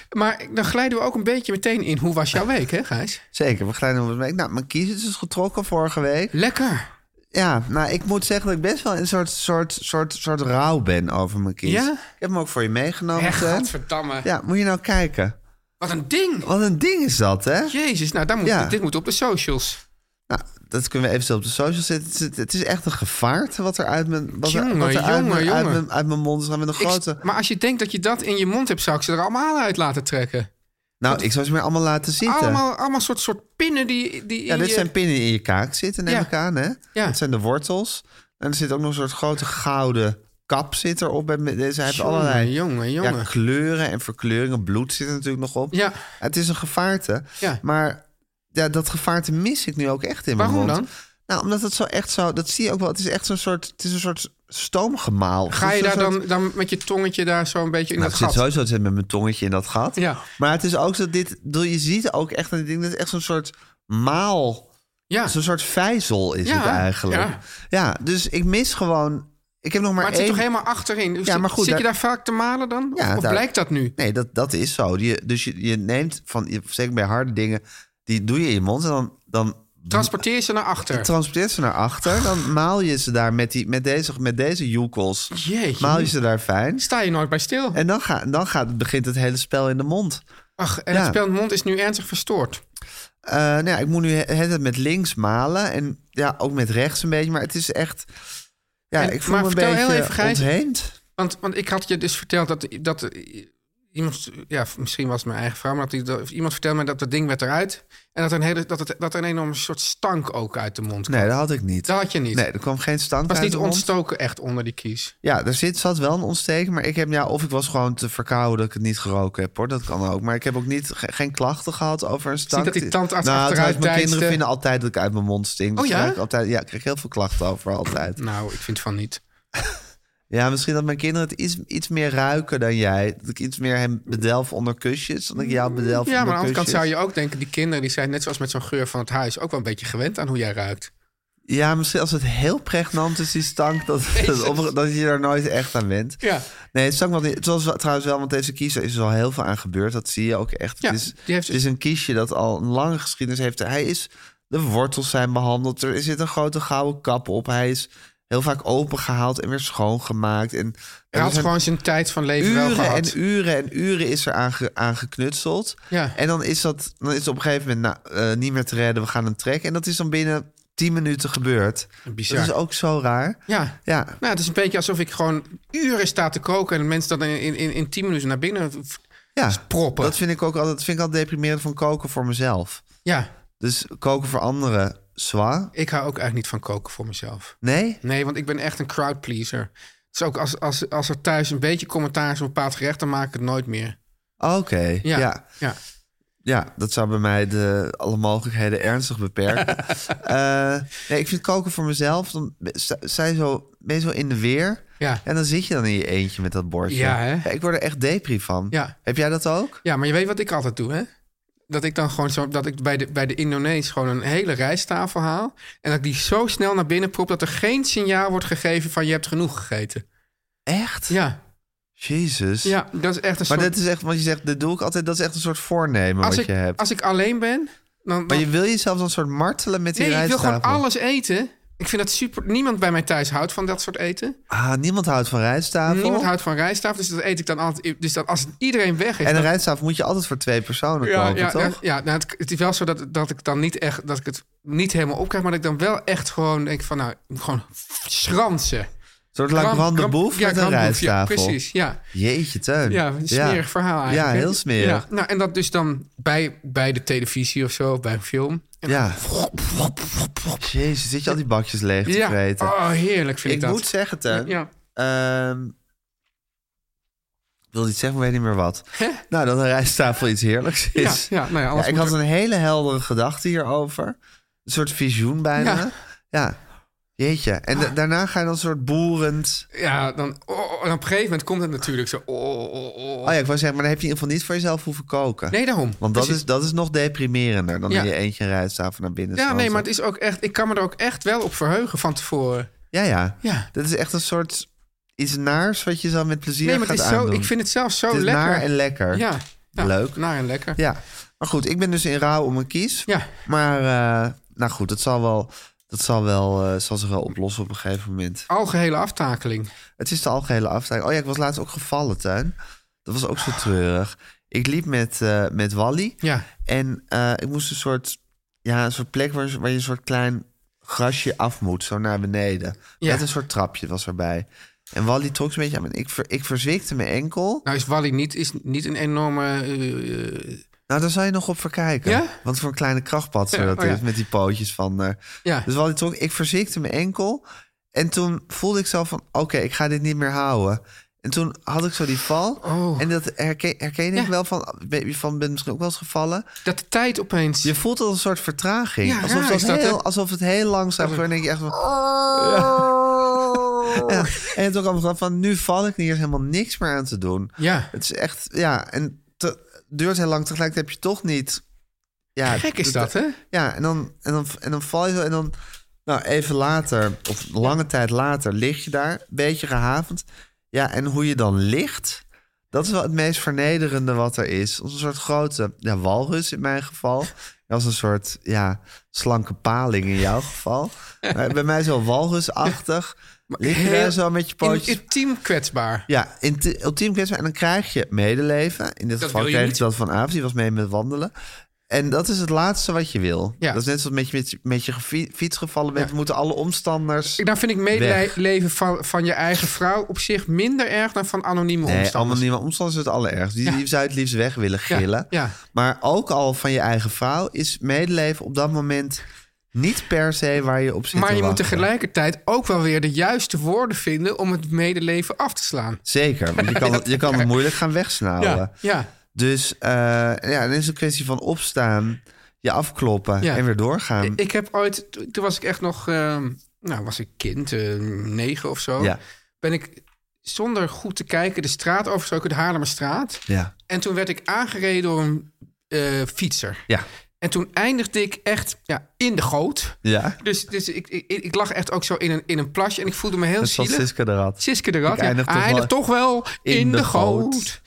Maar dan glijden we ook een beetje meteen in hoe was jouw week, hè Gijs? Zeker, we glijden over het week. Nou, mijn kies is dus getrokken vorige week. Lekker. Ja, nou, ik moet zeggen dat ik best wel in een soort, soort, soort, soort rouw ben over mijn kies. Ja? Ik heb hem ook voor je meegenomen. Echt, Teun. godverdamme. Ja, moet je nou kijken. Wat een ding. Wat een ding is dat, hè? Jezus, nou, daar moet, Ja. dit moet op de socials. Nou, dat kunnen we even op de socials zetten. Het is, het is echt een gevaarte wat er uit mijn, wat er- Jongen, wat er uit, jongen, mijn, uit, jongen. mijn, uit mijn mond is gaan met een Ik- grote... maar als je denkt dat je dat in je mond hebt, zou ik ze er allemaal uit laten trekken. nou, ik zou ze meer allemaal laten zitten. Allemaal, allemaal soort, soort pinnen die, die ja, in dit je- zijn pinnen in je kaak zitten, neem Ja. ik aan, hè? Ja. Dat zijn de wortels. En er zit ook nog een soort grote gouden kap zit erop. Bij, me- dus hij heeft Jongen, allerlei jongen, jongen. Ja, dus kleuren en verkleuringen. Bloed zit er natuurlijk nog op. Ja. Het is een gevaarte. Ja. Maar ja, dat gevaarte mis ik nu ook echt in mijn Waarom mond. dan? Nou, omdat het zo echt zo... Dat zie je ook wel. Het is echt zo'n soort, het is een soort stoomgemaal. Ga Het is je een daar soort- dan, dan met je tongetje daar zo een beetje in nou, dat ik zit gat? sowieso te zitten met mijn tongetje in dat gat. Ja. Maar het is ook zo, dit, bedoel, je ziet ook echt, dat ding, dat is echt zo'n soort maal. Ja. Zo'n soort vijzel is Ja, het eigenlijk. ja. Ja. dus ik mis gewoon, ik heb nog maar, maar het zit één- toch helemaal achterin? Dus Ja, maar goed, zit je daar- daar vaak te malen dan? Of- Ja, of daar- blijkt dat nu? Nee, dat, dat is zo. Je, dus je, je neemt van, je- zeker bij harde dingen, die doe je in je mond en dan... dan Transporteer ze naar achter. transporteert ze naar achter, dan maal je ze daar met, die, met deze, met deze joekels. Jeetje. Maal je ze daar fijn. Sta je nooit bij stil. En dan, ga, dan gaat, begint het hele spel in de mond. Ach, en Ja. het spel in de mond is nu ernstig verstoord. Eh, nou ja, ik moet nu he- het het met links malen en ja, ook met rechts een beetje. Maar het is echt... Ja, En- ik voel maar me een vertel beetje heel even, Gijs. ontheemd. Want, want ik had je dus verteld dat, dat eh, iemand, ja, misschien was het mijn eigen vrouw, maar dat die, dat- iemand vertelde mij dat dat ding werd eruit. En dat er een, hele, dat het, dat er een enorme soort stank ook uit de mond kwam. Nee, dat had ik niet. dat had je niet. Nee, er kwam geen stank het was uit niet de mond. ontstoken echt onder die kies. Ja, er zit, zat wel een ontsteking, maar ik heb ja, of ik was gewoon te verkouden dat ik het niet geroken heb, hoor. Dat kan ook. Maar ik heb ook niet, ge- geen klachten gehad over een stank. dat die tandarts nou, achteruit trouwens, mijn deinsde. kinderen vinden altijd dat ik uit mijn mond stink. Dus Oh ja? krijg ik altijd, ja, ik krijg heel veel klachten over altijd. Nou, ik vind van niet. Ja, misschien dat mijn kinderen het iets, iets meer ruiken dan jij. Dat ik iets meer hem bedelf onder kusjes, dan ik jou bedelf ja, maar aan de onder andere kusjes. kant zou je ook denken, die kinderen die zijn net zoals met zo'n geur van het huis ook wel een beetje gewend aan hoe jij ruikt. Ja, misschien als het heel pregnant is, die stank, dat, Jezus. dat, op- dat je er nooit echt aan went. Ja. Nee, het stank wel niet. Het was wel- trouwens wel, want deze kiezer is er al heel veel aan gebeurd. Dat zie je ook echt. Ja, het, is, die heeft- het is een kiesje dat al een lange geschiedenis heeft. Hij is, de wortels zijn behandeld, er zit een grote gouden kap op. Hij is heel vaak opengehaald en weer schoongemaakt. En, Hij en er had zijn gewoon zijn tijd van leven wel uren gehad. en uren en uren is er aan, ge- aan geknutseld. Ja. En dan is, dat, dan is het op een gegeven moment nou, eh, niet meer te redden. We gaan hem trekken. En dat is dan binnen 10 minuten gebeurd. Bizar. Dat is ook zo raar. Ja. Ja. Nou, het is een beetje alsof ik gewoon uren sta te koken en mensen dan in, in, in, in 10 minuten naar binnen v- ja. Dus proppen. Dat vind ik ook altijd, dat vind ik altijd deprimerend van koken voor mezelf. Ja, Dus koken voor anderen, zwaar. ik hou ook eigenlijk niet van koken voor mezelf. Nee? Nee, want ik ben echt een crowdpleaser. Dus ook als, als, als er thuis een beetje commentaar is op een bepaald gerecht, dan maak ik het nooit meer. Oké. Ja. Ja. Ja. Ja. dat zou bij mij de, alle mogelijkheden ernstig beperken. Eh, nee, ik vind koken voor mezelf, dan ben- sta- sta je zo, ben je zo in de weer. Ja. En dan zit je dan in je eentje met dat bordje. Ja, hè? ik word er echt depri van. Ja. Heb jij dat ook? Ja, maar je weet wat ik altijd doe, hè? Dat ik dan gewoon zo, dat ik bij de, bij de Indonees gewoon een hele rijsttafel haal. En dat ik die zo snel naar binnen prop dat er geen signaal wordt gegeven van je hebt genoeg gegeten. Echt? Ja, Jezus. ja dat is echt een Maar soort... dat is echt, want je zegt, dat doe ik altijd, dat is echt een soort voornemen als, wat ik, je hebt. als ik alleen ben, dan, Maar dan je wil jezelf dan een soort martelen met die Nee, ik wil rijsttafel. gewoon alles eten. Ik vind dat super. Niemand bij mij thuis houdt van dat soort eten. Ah, niemand houdt van rijsttafel. Niemand houdt van rijsttafel, dus dat eet ik dan altijd. Dus dat als iedereen weg is. En een dan- rijsttafel moet je altijd voor twee personen ja, kopen, ja, toch? ja, ja, nou, het, het is wel zo dat, dat ik dan niet echt dat ik het niet helemaal opkrijg, maar dat ik dan wel echt gewoon denk van nou, ik moet gewoon schransen. Een soort La Grand- Grande Grand- Bouffe ja, met een Grand Bouffe, ja, rijsttafel. precies, ja. Jeetje, Teun. Ja, een smerig verhaal eigenlijk. Ja, hè? heel smerig. Ja, nou, en dat dus dan bij, bij de televisie of zo, of bij een film. En Ja. dan- Jezus, zit je al die bakjes leeg te Ja. vreten? Oh, heerlijk vind ik, ik dat. moet zeggen, Teun. Ja. ehm, ik wil iets zeggen, maar weet niet meer wat. Nou, dat een rijsttafel iets heerlijks Ja, is. ja, nou ja, anders ik moet had er- een hele heldere gedachte hierover. Een soort visioen bijna. Ja. Ah. Ja. Jeetje. En da- daarna ga je dan een soort boerend... Ja, dan, oh, oh, en op een gegeven moment komt het natuurlijk zo. Oh, oh, oh. Oh ja, ik wou zeggen, maar dan heb je in ieder geval niet voor jezelf hoeven koken. Nee, daarom. Dus Want dat Precies. is, dat is nog deprimerender dan Ja. in je eentje een rijsttafel naar binnen Ja, slaan. nee, maar het is ook echt. Ik kan me er ook echt wel op verheugen van tevoren. Ja, ja. Ja. Dat is echt een soort iets naars wat je dan met plezier Nee, gaat maar het is zo, aandoen. ik vind het zelf zo Het is lekker. naar en lekker. Ja, ja, Leuk. Naar en lekker. Ja. Maar goed, ik ben dus in rouw om een kies. Ja. Maar, eh, nou goed, dat zal wel... Dat zal, wel, eh, zal zich wel oplossen op een gegeven moment. Algehele aftakeling. Het is de algehele afsluiting. Oh ja, ik was laatst ook gevallen, Tuin. Dat was ook zo treurig. Ik liep met, eh, met Wally. Ja. En eh, ik moest een soort, ja, een soort plek waar, waar je een soort klein grasje af moet, zo naar beneden. Ja. Met een soort trapje was erbij. En Wally trok ze een beetje aan. me. Ik, ver, ik verzwikte mijn enkel. Nou, is Wally niet, is niet een enorme. eh, eh, Nou, daar zou je nog op verkijken. Ja? Want voor een kleine krachtpatser Ja, dat oh ja. is met die pootjes van... eh, Ja. Dus Wally trok, ik verzikte mijn enkel. En toen voelde ik zo van, oké, ik ga dit niet meer houden. En toen had ik zo die val. Oh. En dat herken, herken ik wel van, ben je van bent misschien ook wel eens gevallen. Dat de tijd opeens... Je voelt al een soort vertraging. Ja, Oh. alsof, raar dat is dat, hè? heel, alsof het heel langzaam gaat. En denk je echt van... Ja. En toen kwam ik dan van, nu val ik niet, er is helemaal niks meer aan te doen. Ja. Het is echt, ja, en te, duurt heel lang. Tegelijkertijd heb je toch niet... Ja, Gek is dat, hè? Ja, en dan, en dan, en dan val je zo en dan... Nou, even later, of lange tijd later, lig je daar, een beetje gehavend. Ja, en hoe je dan ligt, dat is wel het meest vernederende wat er is. Als een soort grote ja, walrus in mijn geval. Als een soort ja, slanke paling in jouw geval. Maar bij mij zo walrusachtig. Lig je daar Heel- zo met je pootjes. in- Intiem kwetsbaar. Ja, in te- ultiem kwetsbaar. En dan krijg je medeleven. In dit Dat geval wil je kreeg ik niet. dat van Aaf, die was mee met wandelen. En dat is het laatste wat je wil. Ja. Dat is net zoals met je, met je, met je gefie- fiets gevallen bent. Moeten alle omstanders Daar vind ik weg. medeleven van, van je eigen vrouw op zich minder erg dan van anonieme Nee, omstanders. allemaal nieuwe omstanders is het allerergste. Die, Ja. die zou het liefst weg willen Ja, gillen. ja. Maar ook al van je eigen vrouw is medeleven op dat moment niet per se waar je op zit Maar te je moet wachten. tegelijkertijd ook wel weer de juiste woorden vinden om het medeleven af te slaan. Zeker, want je kan, het- je kan het moeilijk gaan wegsnauwen. Ja, ja. Dus eh, ja, dan is het een kwestie van opstaan, je afkloppen Ja. en weer doorgaan. Ik heb ooit, to- toen was ik echt nog, ehm, nou was ik kind, eh, negen of zo. Ja. Ben ik zonder goed te kijken de straat overgestoken, de Haarlemmerstraat. Ja. En toen werd ik aangereden door een eh, fietser. Ja. En toen eindigde ik echt ja, in de goot. Ja. Dus, dus ik, ik, ik lag echt ook zo in een, in een plasje en ik voelde me heel Dat was zielig. Siska de Rat. Siska de Rat, Ik ja. eindig toch Hij eindigt wel toch wel in, de, goot.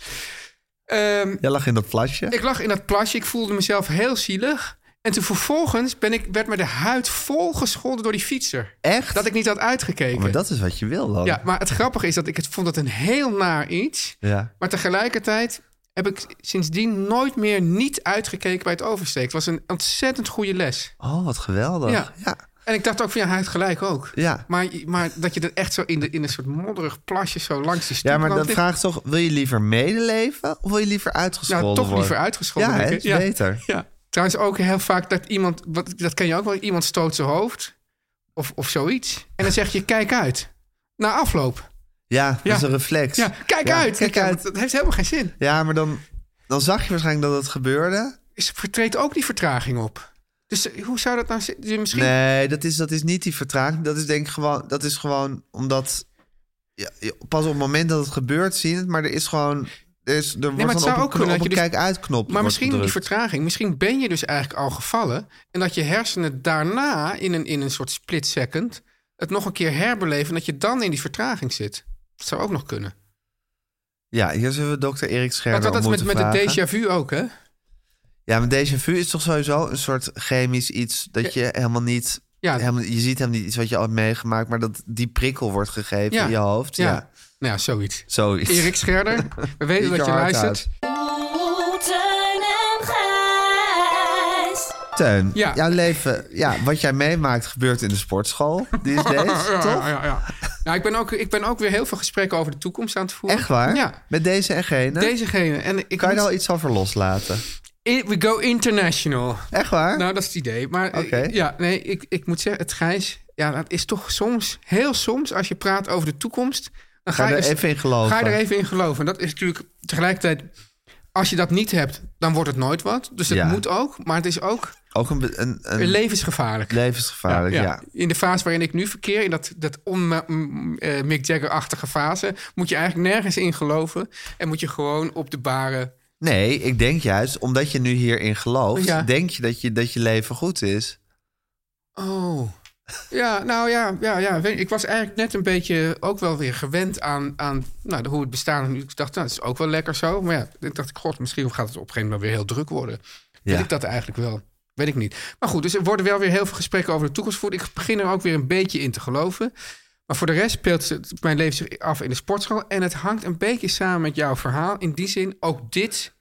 Ehm, Jij lag in dat plasje. ik lag in dat plasje, ik voelde mezelf heel zielig. En toen vervolgens ben ik, werd me de huid vol gescholden door die fietser. Echt? Dat ik niet had uitgekeken. Oh, maar dat is wat je wil dan. Ja, maar het grappige is dat ik het vond dat een heel naar iets. Ja. Maar tegelijkertijd heb ik sindsdien nooit meer niet uitgekeken bij het oversteken. Het was een ontzettend goede les. Oh, wat geweldig. Ja. En ik dacht ook van ja, hij heeft gelijk ook. Ja. Maar, maar dat je dat echt zo in, de, in een soort modderig plasje zo langs die stoep Ja, maar loopt, dan dit- vraagt toch, wil je liever medeleven of wil je liever uitgescholden Nou, worden? toch liever uitgescholden. Ja, denk hè, ik. is beter. Ja. Trouwens ook heel vaak dat iemand, wat, dat ken je ook wel, iemand stoot zijn hoofd of, of zoiets. En dan zeg je, kijk uit. Na afloop. Ja, dat Ja. is een reflex. Ja, kijk Ja, uit. Kijk Ja, uit. dat- Dat heeft helemaal geen zin. Ja, maar dan, dan zag je waarschijnlijk dat het gebeurde. Is, treedt ook die vertraging op. Dus eh, hoe zou dat nou zi- dus Misschien... Nee, dat is, dat is niet die vertraging. Dat is denk ik gewoon, dat is gewoon omdat. Ja, je- pas op het moment dat het gebeurt, zie je het. Maar er is gewoon. Er, is, er wordt maar het dan zou op een, ook kunnen op dat een je dus- kijk uitknop. Maar misschien die vertraging. Misschien ben je dus eigenlijk al gevallen. En dat je hersenen daarna in een, in een soort split second... het nog een keer herbeleven. En dat je dan in die vertraging zit. Dat zou ook nog kunnen. Ja, hier zullen we dokter Erik Scherder Want dat, dat is om met, met moeten het vragen. déjà vu ook, hè? Ja, maar déjà vu is toch sowieso een soort chemisch iets dat je helemaal niet. Ja. Helemaal, je ziet helemaal niet iets wat je al hebt meegemaakt, maar dat die prikkel wordt gegeven in je hoofd. Ja. Nou ja, zoiets. Zoiets. Erik Scherder, we weten Niet dat je je hart luistert. Oeh, Teun en Gijs. Teun, Ja. jouw leven, ja, wat jij meemaakt gebeurt in de sportschool. Die is deze, ja, toch? ja, ja, ja. Nou, ik ben, ook, ik ben ook weer heel veel gesprekken over de toekomst aan het voeren. Echt waar? Ja, Met deze en gene? dezegene. En ik Kan je moet- er al iets over loslaten? I- We go international. Echt waar? Nou, dat is het idee. Maar eh, Oké. ja, nee, ik, ik moet zeggen, het Gijs, ja, dat is toch soms, heel soms, als je praat over de toekomst, dan Ga ga, er je even in geloven. Ga je er even in geloven. En dat is natuurlijk tegelijkertijd, als je dat niet hebt, dan wordt het nooit wat. Dus het Ja. moet ook, maar het is ook Ook een, be- een, een levensgevaarlijk. levensgevaarlijk, ja. In de fase waarin ik nu verkeer, in dat, dat on m- eh, Mick Jagger-achtige fase, moet je eigenlijk nergens in geloven. En moet je gewoon op de baren. Nee, ik denk juist, omdat je nu hierin gelooft, Ja. denk je dat, je dat je leven goed is. Oh. Ja, nou ja, ja, ja. Weet je, Ik was eigenlijk net een beetje ook wel weer gewend aan, aan nou, de- hoe het bestaan. nu. Ik dacht, nou, dat is ook wel lekker zo. Maar ja, ik dacht, ik, god, misschien gaat het op een gegeven moment weer heel druk worden. Ja. Weet ik dat eigenlijk wel? Weet ik niet. Maar goed, dus er worden wel weer heel veel gesprekken over de toekomst gevoerd. Ik begin er ook weer een beetje in te geloven. Maar voor de rest speelt het- mijn leven zich af in de sportschool. En het hangt een beetje samen met jouw verhaal. In die zin, ook dit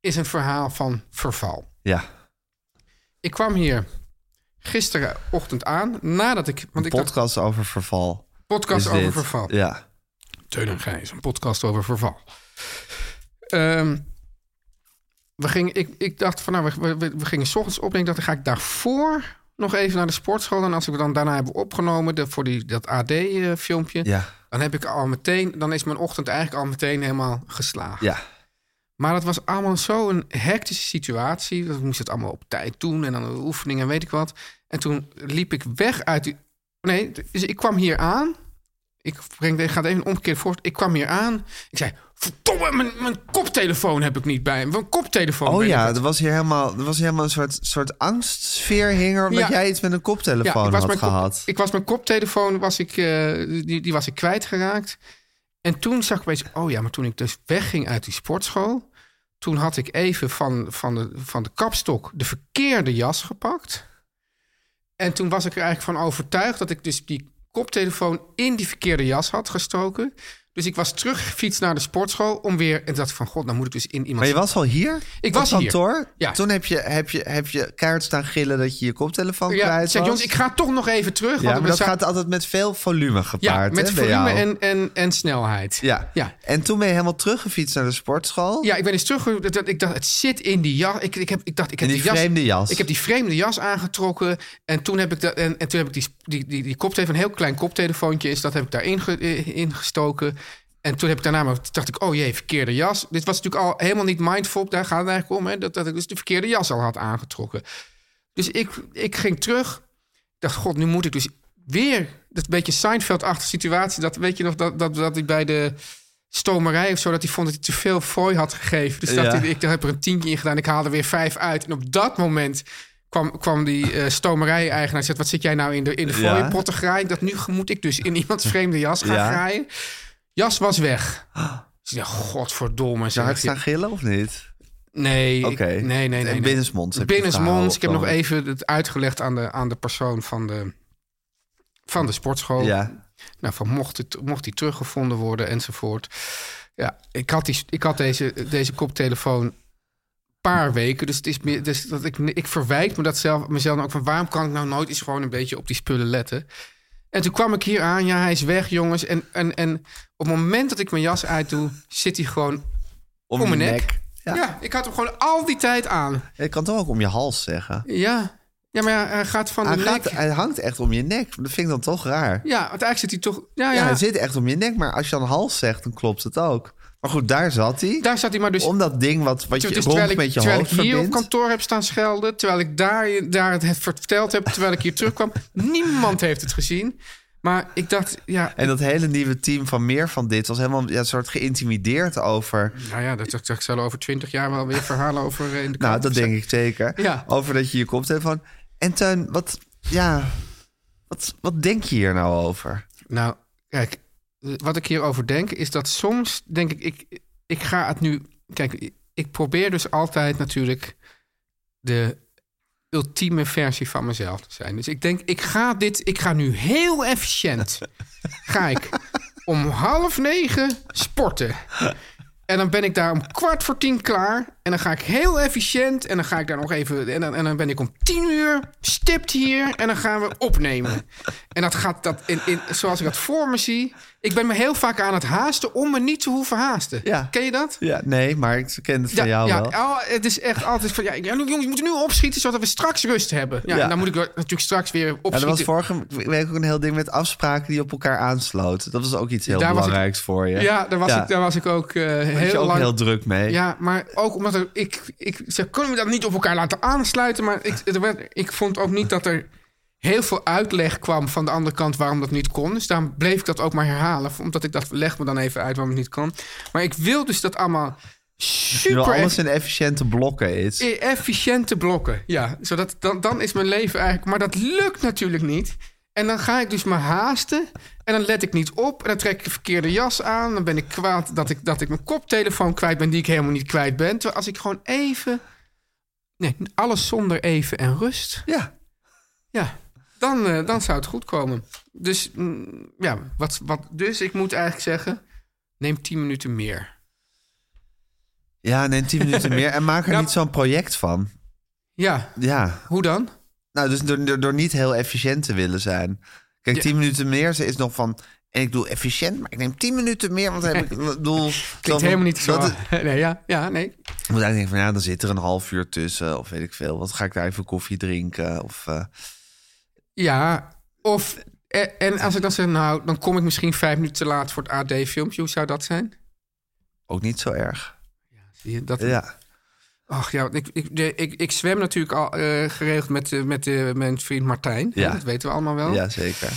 is een verhaal van verval. Ja, Ik kwam hier gisterenochtend aan, nadat ik... Want een ik dacht, podcast over verval. Podcast is over dit. verval. Ja, Teun en Gijs, een podcast over verval. Ehm, we gingen, ik, ik dacht van, nou, we, we, we gingen 's ochtends opnemen. Ik dacht, dan ga ik daarvoor nog even naar de sportschool. En als ik me dan daarna heb opgenomen de, voor die, dat AD-filmpje... Ja. dan heb ik al meteen... dan is mijn ochtend eigenlijk al meteen helemaal geslaagd. Ja. Maar dat was allemaal zo'n hectische situatie. We moesten het allemaal op tijd doen en dan de oefeningen en weet ik wat. En toen liep ik weg uit die... Nee, dus ik kwam hier aan. Ik, breng, ik ga het even omgekeerd voor. Ik kwam hier aan. Ik zei, verdomme, mijn, mijn koptelefoon heb ik niet bij me. Mijn koptelefoon. Oh ben ik ja, het." er was hier helemaal, er was hier helemaal een soort, soort angstsfeer hinger... omdat Ja. jij iets met een Ja, koptelefoon ik was had mijn kop- gehad. ik was mijn koptelefoon, was ik, eh, die, die was ik kwijtgeraakt. En toen zag ik opeens, oh ja, maar toen ik dus wegging uit die sportschool... toen had ik even van, van, de, van de kapstok de verkeerde jas gepakt. En toen was ik er eigenlijk van overtuigd... dat ik dus die koptelefoon in die verkeerde jas had gestoken... Dus ik was teruggefietst naar de sportschool om weer... En dacht ik van, god, nou moet ik dus in iemand... Maar je was al hier? Ik Op was hier. kantoor? Ja. Toen heb je, heb, je, heb je keihard staan gillen dat je je koptelefoon Ja, kwijt ik zeg, was. jongens, ik ga toch nog even terug. Ja, want maar we dat zijn- gaat altijd met veel volume ja, gepaard. met hè, bij volume jou. en, en, en snelheid. Ja. Ja. En toen ben je helemaal teruggefietst naar de sportschool. Ja, ik ben eens terug. dat- dat- Ik dacht, het zit in die jas. Ik, ik, heb, ik dacht, ik heb In die, die vreemde jas. Ik heb die vreemde jas aangetrokken. En toen heb ik, dat, en, en toen heb ik die, die, die, die koptelefoon, een heel klein koptelefoontje is, dat heb ik daarin ge- eh, ingestoken. En toen heb ik daarna, maar dacht ik, oh jee, verkeerde jas. Dit was natuurlijk al helemaal niet mindful. Daar gaat het eigenlijk om, hè, dat, dat ik dus de verkeerde jas al had aangetrokken. Dus ik, ik ging terug. Ik dacht, god, nu moet ik dus weer... Dat beetje Seinfeld-achtige situatie. Dat weet je nog, dat, dat, dat ik bij de stomerij of zo... dat hij vond dat hij te veel fooi had gegeven. Dus dat Ja. hij- ik heb er een tientje in gedaan. Ik haalde weer vijf uit. En op dat moment kwam, kwam die eh, stomerij-eigenaar en zegt... wat zit jij nou in de, in de Ja. fooipotten graaien? Dat nu moet ik dus in iemands vreemde jas gaan Ja. graaien. Jas was weg. Dus ik dacht, godverdomme. Zou ik zeg staan je. gillen of niet? Nee, Oké. ik- nee, nee, En nee. nee. binnensmonds heb je het verhaal Binnensmonds. Ik of heb nog zo? even het uitgelegd aan de, aan de persoon van de, van de sportschool. Ja. Nou, van mocht, het, mocht die teruggevonden worden enzovoort. Ja, ik had, die, ik had deze, deze koptelefoon een paar weken. Dus, het is meer, dus dat ik, ik verwijt me dat zelf, mezelf ook van... waarom kan ik nou nooit eens gewoon een beetje op die spullen letten? En toen kwam ik hier aan. Ja, hij is weg, jongens. En, en, en op het moment dat ik mijn jas uitdoe... zit hij gewoon om, je mijn nek. Ja. ik had hem gewoon al die tijd aan. Ik kan toch ook om je hals zeggen. Ja, ja maar ja, hij gaat van Hij, de nek... gaat, hij hangt echt om je nek. Dat vind ik dan toch raar. Ja, want eigenlijk zit hij toch... Ja, Ja, Oh, ja, hij zit echt om je nek. Maar als je aan hals zegt, dan klopt het ook. Maar goed, daar zat hij. daar zat hij maar dus... om dat ding wat, wat je Dus rond terwijl ik, met je terwijl hoofd ik hier op verbindt. kantoor heb staan schelden... terwijl ik daar, daar het, het verteld heb, terwijl ik hier terugkwam... niemand heeft het gezien. Maar ik dacht, ja... En dat hele nieuwe team van meer van dit was helemaal ja, soort geïntimideerd over. Nou ja, dat, dat, dat zal over twintig jaar wel weer verhalen over eh, in de Nou, krant dat zijn. denk ik zeker. Ja. Over dat je je koptelefoon. En Teun, wat, ja, wat, wat denk je hier nou over? Nou, kijk, eh, wat ik hierover denk is dat soms denk ik, ik, ik ga het nu. Kijk, ik- ik probeer dus altijd natuurlijk de ultieme versie van mezelf te zijn. Dus ik denk, ik ga dit, ik ga nu heel efficiënt. Ga ik om half negen sporten. En dan ben ik daar om kwart voor tien klaar. En dan ga ik heel efficiënt. En dan ga ik daar nog even. En dan, en dan ben ik om tien uur stipt hier. En dan gaan we opnemen. En dat gaat dat in, in, zoals ik dat voor me zie. Ik ben me heel vaak aan het haasten om me niet te hoeven haasten. Ja. Ken je dat? Ja, nee, maar ik ken het van jou ja, wel. oh, het is echt altijd van... Ja, ja, jongens, je moet nu opschieten zodat we straks rust hebben. Ja, Ja. en dan moet ik wel- natuurlijk straks weer Ja, er opschieten. was vorige week ook een heel ding met afspraken die op elkaar aansloten. Dat was ook iets heel Daar was ik- belangrijks voor je. Ja, daar was, Ik, daar was ik ook eh, Daar was je heel ook lang... heel druk mee. Ja, maar ook omdat er, ik, ik zeg, kunnen we dat niet op elkaar laten aansluiten? Maar ik, er werd- ik vond ook niet dat er heel veel uitleg kwam van de andere kant waarom dat niet kon. Dus daarom bleef ik dat ook maar herhalen. Omdat ik dacht, leg me dan even uit waarom het niet kan. Maar ik wil dus dat allemaal Nu super alles in efficiënte blokken is. e- efficiënte blokken. Ja, zodat dan, dan is mijn leven eigenlijk... Maar dat lukt natuurlijk niet. En dan ga ik dus me haasten. En dan let ik niet op. En dan trek ik de verkeerde jas aan. Dan ben ik kwaad dat ik, dat ik mijn koptelefoon kwijt ben... die ik helemaal niet kwijt ben. Terwijl als ik gewoon even... Nee, alles zonder even en rust. Ja. Ja, dan, eh, dan zou het goed komen. Dus, mm, ja, wat, wat, dus ik moet eigenlijk zeggen... neem 10 minuten meer. Ja, neem 10 minuten meer en maak er Ja. niet zo'n project van. Ja, Ja. hoe dan? Nou, dus door, door, door niet heel efficiënt te willen zijn. Kijk, Ja. 10 minuten meer ze is nog van. En ik doe efficiënt, maar ik neem 10 minuten meer. Want dan heb ik. ik bedoel, Klinkt dan- helemaal niet zo. dat- Nee, ja, ja, nee. Ik moet eigenlijk denken van ja, dan zit er een half uur tussen. Of weet ik veel. Wat ga ik daar even koffie drinken? Of eh, Ja, of... En, en als ik dan zeg, nou, dan kom ik misschien vijf minuten te laat voor het AD-filmpje. Hoe zou dat zijn? Ook niet zo erg. Zie je, dat... Ja. Ach ja, want ik, ik, de- ik, ik zwem natuurlijk al eh, geregeld met, eh, met eh, mijn vriend Martijn. Ja. Dat weten we allemaal wel. Ja, zeker.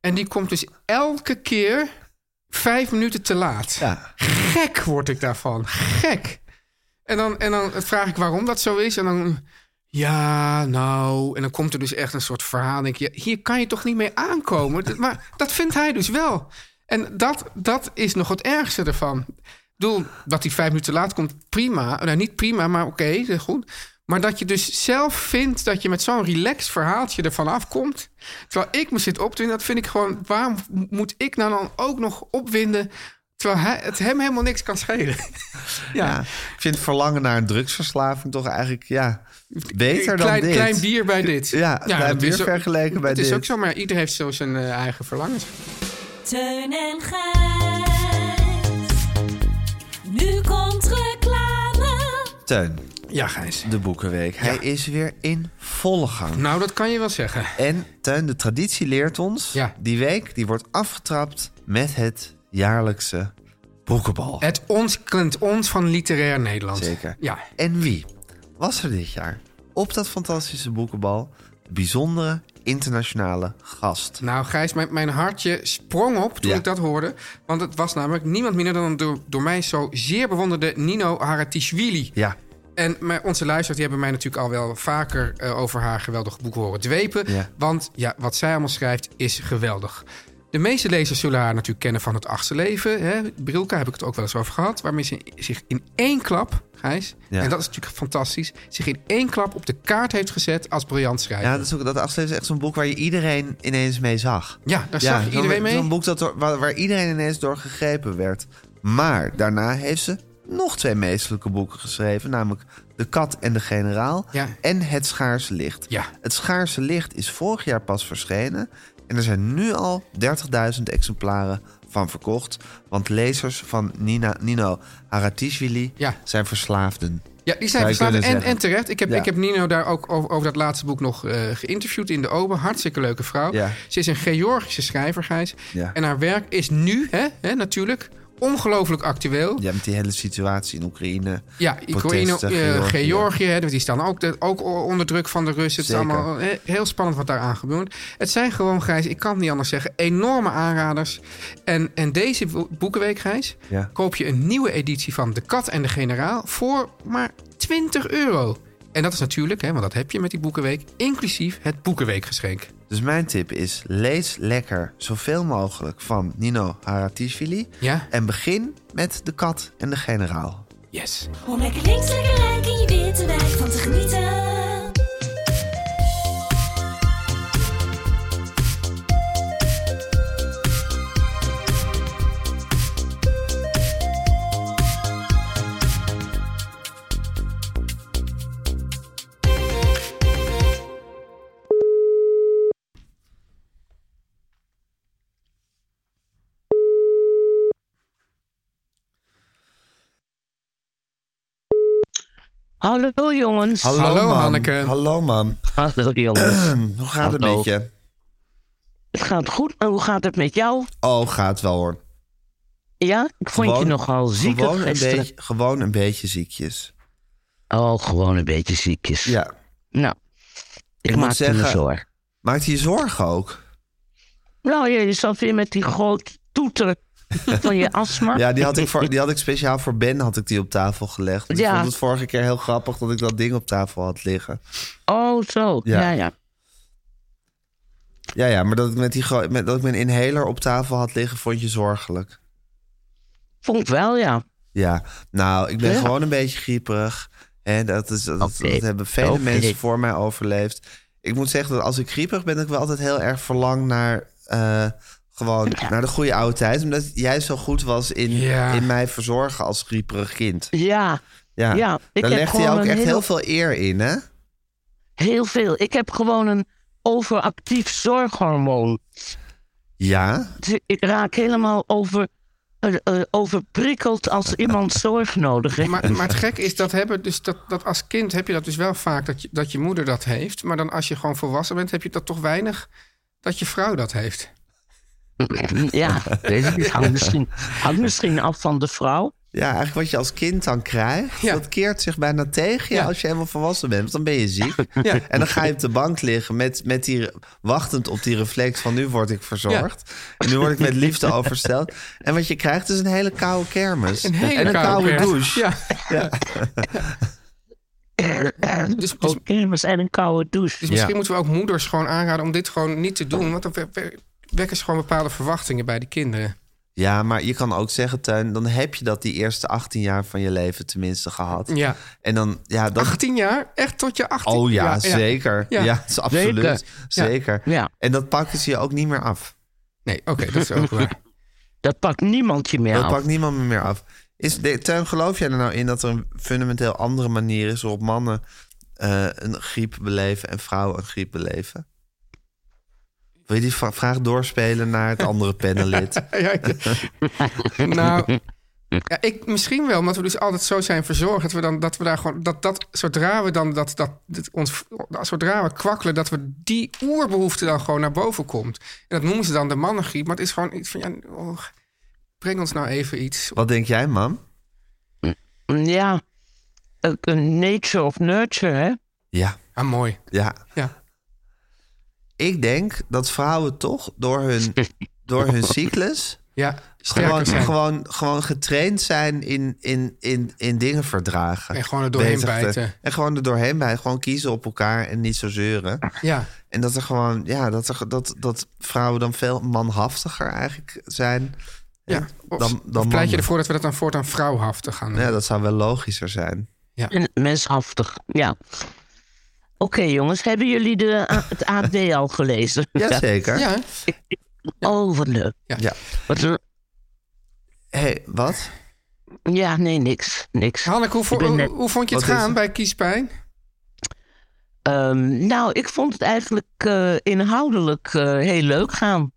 En die komt dus elke keer vijf minuten te laat. Ja. Gek word ik daarvan. Gek. En dan, en dan vraag ik waarom dat zo is. En dan, ja, nou. En dan komt er dus echt een soort verhaal. Denk je, hier kan je toch niet mee aankomen? Dat- maar dat vindt hij dus wel. En dat, dat is nog het ergste ervan. Ik bedoel, dat hij vijf minuten laat komt, prima. Nou, niet prima, maar oké, goed. Maar dat je dus zelf vindt dat je met zo'n relaxed verhaaltje ervan afkomt. Terwijl ik me zit op te winden, dat vind ik gewoon... waarom moet ik nou dan ook nog opwinden... terwijl hij, het hem helemaal niks kan schelen? Ja. Ik vind verlangen naar een drugsverslaving toch eigenlijk ja, beter dan klein, dit. Klein bier bij dit. Ja, klein dat bier is ook- vergeleken bij Het is dit. ook zo, maar ieder heeft zo zijn eh, eigen verlangens. Teun en Gijs. Nu komt reclame. Teun, Ja, Gijs. de Boekenweek. Hij is weer in volle gang. Nou, dat kan je wel zeggen. En Teun, de traditie leert ons... Ja. die week die wordt afgetrapt met het jaarlijkse boekenbal. Het ons klinkt ons van literair Nederland. Zeker. Ja. En wie was er dit jaar op dat fantastische boekenbal... de bijzondere internationale gast? Nou, Gijs, mijn, mijn hartje sprong op toen Ja. ik dat hoorde. Want het was namelijk niemand minder dan door, door mij zo zeer bewonderde Nino Haratischvili. Ja, En maar onze luisteraars die hebben mij natuurlijk al wel vaker eh, over haar geweldige boeken horen dwepen. Ja. Want ja, wat zij allemaal schrijft is geweldig. De meeste lezers zullen haar natuurlijk kennen van het achtste leven. Hè? Brilka heb ik het ook wel eens over gehad. Waarmee ze zich in één klap, Gijs, Ja. en dat is natuurlijk fantastisch... zich in één klap op de kaart heeft gezet als briljant schrijver. ja dat, is ook, dat afsluit is echt zo'n boek waar je iedereen ineens mee zag. Ja, daar zag je zo'n- iedereen mee. Zo'n boek dat door- waar, waar iedereen ineens door gegrepen werd. Maar daarna heeft ze nog twee meestelijke boeken geschreven. Namelijk De Kat en de Generaal Ja. en Het Schaarse Licht. Ja. Het Schaarse Licht is vorig jaar pas verschenen. En er zijn nu al 30.000 exemplaren van verkocht. Want lezers van Nina, Nino Haratishvili Ja. zijn verslaafden. Ja, die zijn Zou je verslaafd. kunnen En, zeggen. en terecht. Ik heb, Ja. ik heb Nino daar ook over, over dat laatste boek nog eh, geïnterviewd in de Oben. Hartstikke leuke vrouw. Ja. Ze is een Georgische schrijver, Gijs. Ja. En haar werk is nu, hè, hè, natuurlijk, ongelooflijk actueel. Ja, met die hele situatie in Oekraïne. Ja, Oekraïne, protesten, eh, Georgië, hè, want die staan ook, dat- ook onder druk van de Russen. Het is Zeker. allemaal eh, heel spannend wat daar aan gebeurt. Het zijn gewoon, Gijs, ik kan het niet anders zeggen, enorme aanraders. En, en deze bo- boekenweek, Gijs, Ja. koop je een nieuwe editie van De Kat en de Generaal voor maar 20 euro. En dat is natuurlijk, hè, want dat heb je met die boekenweek, inclusief het boekenweekgeschenk. Dus mijn tip is: lees lekker zoveel mogelijk van Nino Haratischvili. Ja. En begin met De Kat en de Generaal. Yes. Om lekker links, lekker rechts in je witte wijk van te genieten. Hallo jongens. Hallo, mam. Hanneke. Hallo, mam. Hallo jongens. Hoe gaat het Hallo. met je? Het gaat goed, maar hoe gaat het met jou? Oh, gaat wel hoor. Ja, ik vond je Gewoon- nogal ziek gewoon een, gisteren. beetje, gewoon een beetje ziekjes. Oh, gewoon een beetje ziekjes. Ja. Nou, ik, moet maakte me zorgen. Maakt je je zorgen ook? Nou, je je zat weer met die grote toeter van je astma. Ja, die had ik, voor, die had ik speciaal voor Ben had ik die op tafel gelegd. Want Ik Ja. vond het vorige keer heel grappig dat ik dat ding op tafel had liggen. Oh, zo. Ja. Ja, ja. ja. Ja, ja, maar dat ik, met die, gro- met, dat ik mijn inhaler op tafel had liggen, vond je zorgelijk. Vond ik wel, ja. Ja, nou, ik ben Ja. gewoon een beetje grieperig. En dat, is, dat, Oké. dat hebben vele Oké. mensen voor mij overleefd. Ik moet zeggen dat als ik grieperig ben, dat ik wel altijd heel erg verlang naar, eh, gewoon naar de goede oude tijd. Omdat jij zo goed was in, Ja. in mij verzorgen als grieperig kind. Ja, Ja, Ja, ik daar heb legde je gewoon ook een echt heel heel- veel eer in, hè? heel veel. Ik heb gewoon een overactief zorghormoon. Ja, Dus ik raak helemaal over, eh, eh, overprikkeld als iemand zorg nodig heeft. Maar, maar het gekke is, dat hebben dus dat, dat als kind heb je dat dus wel vaak dat je, dat je moeder dat heeft. Maar dan als je gewoon volwassen bent, heb je dat toch weinig dat je vrouw dat heeft. Ja, weet ik niet. Hangt misschien, hangt misschien af van de vrouw. Ja, eigenlijk wat je als kind dan krijgt, dat keert zich bijna tegen je als je helemaal volwassen bent. Want dan ben je ziek. Ja. En dan ga je op de bank liggen met, met die, wachtend op die reflex van nu word ik verzorgd. En nu word ik met liefde oversteld. En wat je krijgt is een hele koude kermis. Een hele en een koude koude, kermis. douche. Ja. Dus, kermis en een koude douche. Dus misschien moeten we ook moeders gewoon aanraden om dit gewoon niet te doen. Want dan we- we- wekken ze gewoon bepaalde verwachtingen bij die kinderen. Ja, maar je kan ook zeggen, Tuin, dan heb je dat die eerste 18 jaar van je leven tenminste gehad. Ja. En dan, ja, dan, 18 jaar? Echt tot je 18 Oh ja, zeker. Ja, dat is absoluut. Zeker. Zeker. Ja. En dat pakken ze je ook niet meer af. Nee, oké, dat is ook waar. Dat pakt niemand je meer dat af. pakt niemand me meer af. Is, de, Teun, geloof jij er nou in dat er een fundamenteel andere manier is waarop mannen eh, een griep beleven en vrouwen een griep beleven? Wil je die va- vraag doorspelen naar het andere panelid? Ja, ja. Nou, ja, ik misschien wel, omdat we dus altijd zo zijn verzorgd. Dat we dan dat we daar gewoon dat dat zodra we dan dat dat, dit ons zodra we kwakkelen, dat we die oerbehoefte dan gewoon naar boven komt. En dat noemen ze dan de mannengriep, maar het is gewoon iets van ja, oh, breng ons nou even iets. Wat denk jij, mam? Ja, ook een nature of nurture, hè? Ja. Ah, mooi. Ja. Ja. Ik denk dat vrouwen toch door hun, door hun cyclus Ja, sterker gewoon, zijn. gewoon, gewoon getraind zijn in, in, in, in dingen verdragen. En gewoon er doorheen Bezig te- bijten. En gewoon er doorheen bijten. Gewoon kiezen op elkaar en niet zo zeuren. Ja. En dat er gewoon, ja, dat, er, dat, dat vrouwen dan veel manhaftiger eigenlijk zijn. Ja. dan, Of, dan of pleit je mannen. ervoor dat we dat dan voortaan vrouwhaftig gaan doen? Ja, dat zou wel logischer zijn. Ja. En mensachtig, ja. Oké, jongens, hebben jullie de, eh, het AD al gelezen? Jazeker. Ja. Oh, wat leuk. Ja. Wat een- Hé, hey, wat? Ja, nee, niks. niks. Hanneke, hoe, vo- Ik ben net- hoe, hoe vond je het Wat is gaan het? bij kiespijn? Ehm, nou, ik vond het eigenlijk eh, inhoudelijk eh, heel leuk gaan.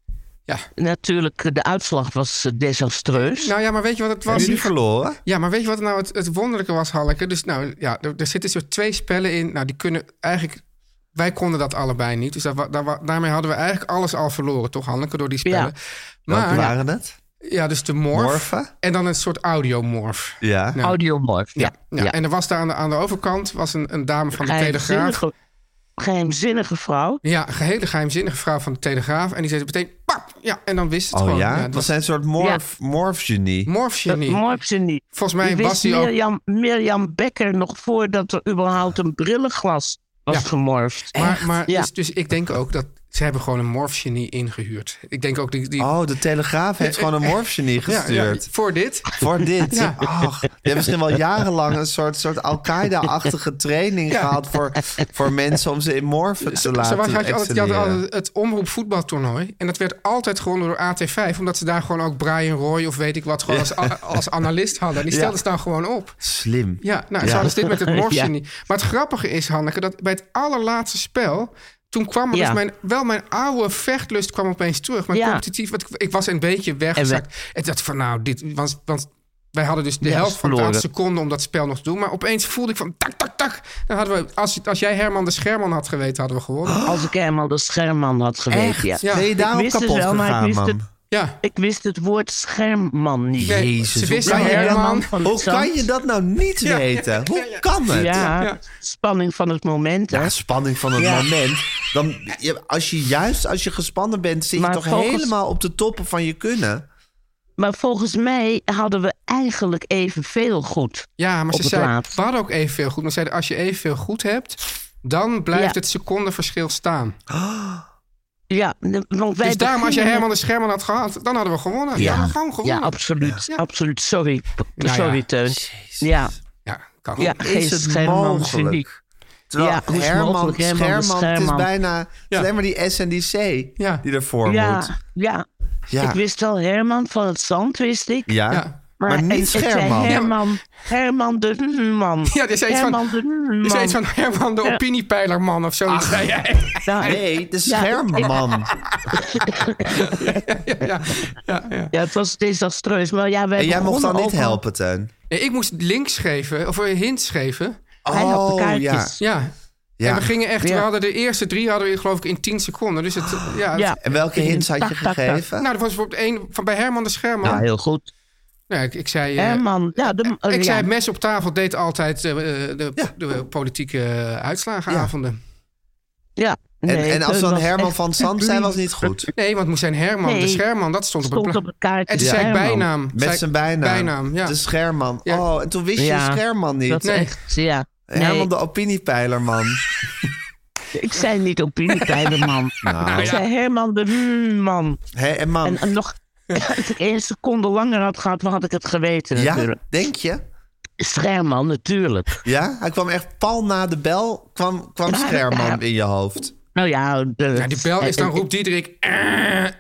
Ja. Natuurlijk, eh, de uitslag was eh, desastreus. Nou ja, maar weet je wat het was? Jullie verloren? Ja, maar weet je wat nou het, het wonderlijke was, Halleke? Dus nou, ja, er, er zitten zo twee spellen in. Nou, die kunnen eigenlijk... Wij konden dat allebei niet. Dus dat, wa- daar, wa- daarmee hadden we eigenlijk alles al verloren, toch, Hanneke? Door die spellen. Welke waren het? Ja, dus de morf. Morfen? En dan een soort audiomorf. Ja. Nou, Audiomorf, ja. ja, En er was daar aan de, aan de overkant was een, een dame van de Telegraaf. Geheimzinnige- Geheimzinnige vrouw. Ja, een hele geheimzinnige vrouw van de Telegraaf. En die zei meteen, pap! Ja, en dan wist het Oh gewoon. ja? het dat was zijn een soort morf, morfgenie. morfgenie. Morpsenie. Volgens mij was die ook- Mirjam, Mirjam Becker nog voordat er überhaupt een brillenglas was gemorfd. Maar, maar ja. dus, dus ik denk ook dat ze hebben gewoon een morfgenie ingehuurd. Ik denk ook die... die Oh, de Telegraaf heeft gewoon een morfgenie Ja, ja, gestuurd. voor dit. Voor dit. Ja. Ach, je hebt misschien wel jarenlang een soort, soort Al-Qaeda-achtige training gehad voor, voor mensen om ze in morfen te laten Zo was, had je altijd, je had excelleren. altijd het omroep voetbaltoernooi. En dat werd altijd gewonnen door AT5. Omdat ze daar gewoon ook Brian Roy of weet ik wat gewoon als, a- als analist hadden. En die Ja. stelden ze dan gewoon op. Slim. Ja, nou, zo Ja. hadden ze dit met het morfje Ja. niet. Maar het grappige is, Hanneke, dat bij het allerlaatste spel... Toen kwam er Ja. dus mijn, wel mijn oude vechtlust kwam opeens terug. Mijn Ja. competitief, want ik, ik was een beetje weggezakt. En dacht van, nou, dit... Want, want wij hadden dus de Ja, helft van de verloren. laatste seconde om dat spel nog te doen. Maar opeens voelde ik van, tak, tak, tak. Dan hadden we, als, als jij Herman de Scherman had geweten, hadden we gewonnen. Als ik helemaal de schermman had geweten. Echt? Ja. Ben je Ik daarop wist het kapot wel, maar ik gegaan, wist man? Het, Ja. Ik wist het woord schermman niet. Nee, Jezus, ze wisten hoe kan Herman- Herman van het hoe kan Zand. je dat nou niet Ja, ja, weten? ja, Hoe ja, ja. kan het? Ja, Ja. spanning van het moment. hè. Ja, spanning van het Ja. moment. Dan, je- als je juist als je gespannen bent, zit Maar je toch volgens- helemaal op de toppen van je kunnen. Maar volgens mij hadden we eigenlijk evenveel goed. Ja, maar op ze het zei, laatst. we hadden ook evenveel goed. Maar ze zeiden, als je evenveel goed hebt, dan Ja. blijft het secondeverschil staan. Ja, de- want wij dus daarom, als je beginnen Herman de Scherman had gehad, dan hadden we gewonnen. Ja, Ja, gewoon ja gewonnen. absoluut. absoluut. Sorry, ja. sorry Teun. Ja. Ja, kan ja, Hoe geen is het schermman mogelijk? genie. Terwijl Ja, hoe is het Herman, mogelijk? Herman de Scherman, het is Scherman. bijna het is alleen maar die SNDC die ervoor Ja, moet. ja. Ja. Ik wist wel Herman van het Zand, wist ik. Ja. Ja. Maar, niet het- het zei Scherman. Herman, Herman de mm, man. Ja, er is iets van, Herman de mm, er is man. iets van Herman de Ja. opiniepeilerman of zo. zei jij. Nou, Nee, de Ja, schermman. Ja, het was desastreus. Maar ja, wij En jij mocht dan begonnen niet ook al- helpen, Teun. Nee, ik moest links geven, of eh, hints geven. Hij had de Oh, kaartjes. Ja. Ja. En we gingen echt, we Ja. hadden de eerste drie hadden we geloof ik in 10 seconden. Dus het, eh, ja, het- Ja. En welke hints had je Tak, tak, tak. gegeven? Nou, dat was bijvoorbeeld één van bij Herman de Scherman. Nou, heel goed. Nou, ik, ik zei, eh, Herman, ja, de, eh, ik ja. zei het mes op tafel deed altijd eh, eh, de, de politieke eh, uitslagenavonden. Ja. En, Nee, en als Teun dan was Herman echt van Zand publiek. zijn, was niet goed. Nee, want het moest zijn Herman de Nee. Scherman. Dat stond, Stond pla- op het kaartje. En toen zei ik Herman. bijnaam. Zei Met ik- zijn bijnaam. Dus- Bijnaam, ja. De schermman. Ja. Oh, en toen wist je Ja. schermman niet. Dat is Nee. echt, ja. Nee, Herman de opiniepeilerman. ik zei niet opiniepeilerman. Nou. Ik zei Herman de mm, man. Hé, en man. En, en nog, als ik één seconde langer had gehad, dan had ik het geweten ja, natuurlijk. denk je? Scherman, natuurlijk. Ja, hij kwam echt pal na de bel, kwam, kwam Ja, ja. schermman in je hoofd. Nou ja, de, Ja, die bel is dan eh, eh, roept Diederik. "Eh."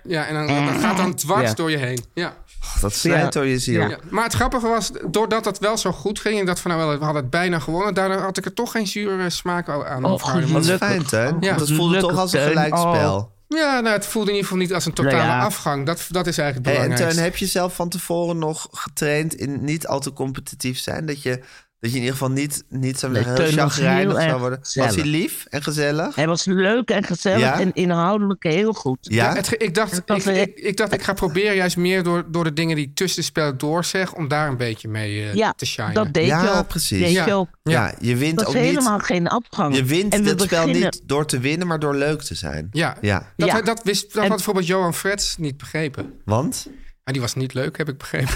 Ja, en dan, dat gaat dan dwars Ja. door je heen. Ja. Oh, Dat snijdt door je ziel. Ja. Maar het grappige was, doordat het wel zo goed ging... en dat van nou, wel, we hadden het bijna gewonnen... daarna had ik er toch geen zure smaak aan Oh, overhouden. Dat Want- is Gelukkig. fijn, Teun. Ja. Dat voelde toch Gelukkig, als een Teun. gelijkspel. Oh. Ja, nou, het voelde in ieder geval niet als een totale Nou ja. afgang. Dat, dat is eigenlijk Hey, het en Teun, belangrijkste. heb je zelf van tevoren nog getraind in niet al te competitief zijn? Dat je, dat je in ieder geval niet, niet zo Nee, heel Teun was chagrijnig heel zou erg worden. Was gezellig. hij lief en gezellig? Hij was leuk en gezellig Ja? en inhoudelijk heel goed. Ja? Ja, het ge- ik, dacht, Dat ik, we- ik, ik dacht, ik ga proberen juist meer door, door de dingen die ik tussen de spel door zeg... om daar een beetje mee eh, Ja, te shinen. dat deed Ja, je ook. precies. Deed Ja. je ook. Ja, je wint Dat ook is niet. helemaal geen afgang. Je wint En we dit spel beginnen- niet door te winnen, maar door leuk te zijn. Ja, Ja. dat, Ja. dat, wist, dat En- had bijvoorbeeld Johan Frets niet begrepen. Want? Maar die was niet leuk, heb ik begrepen.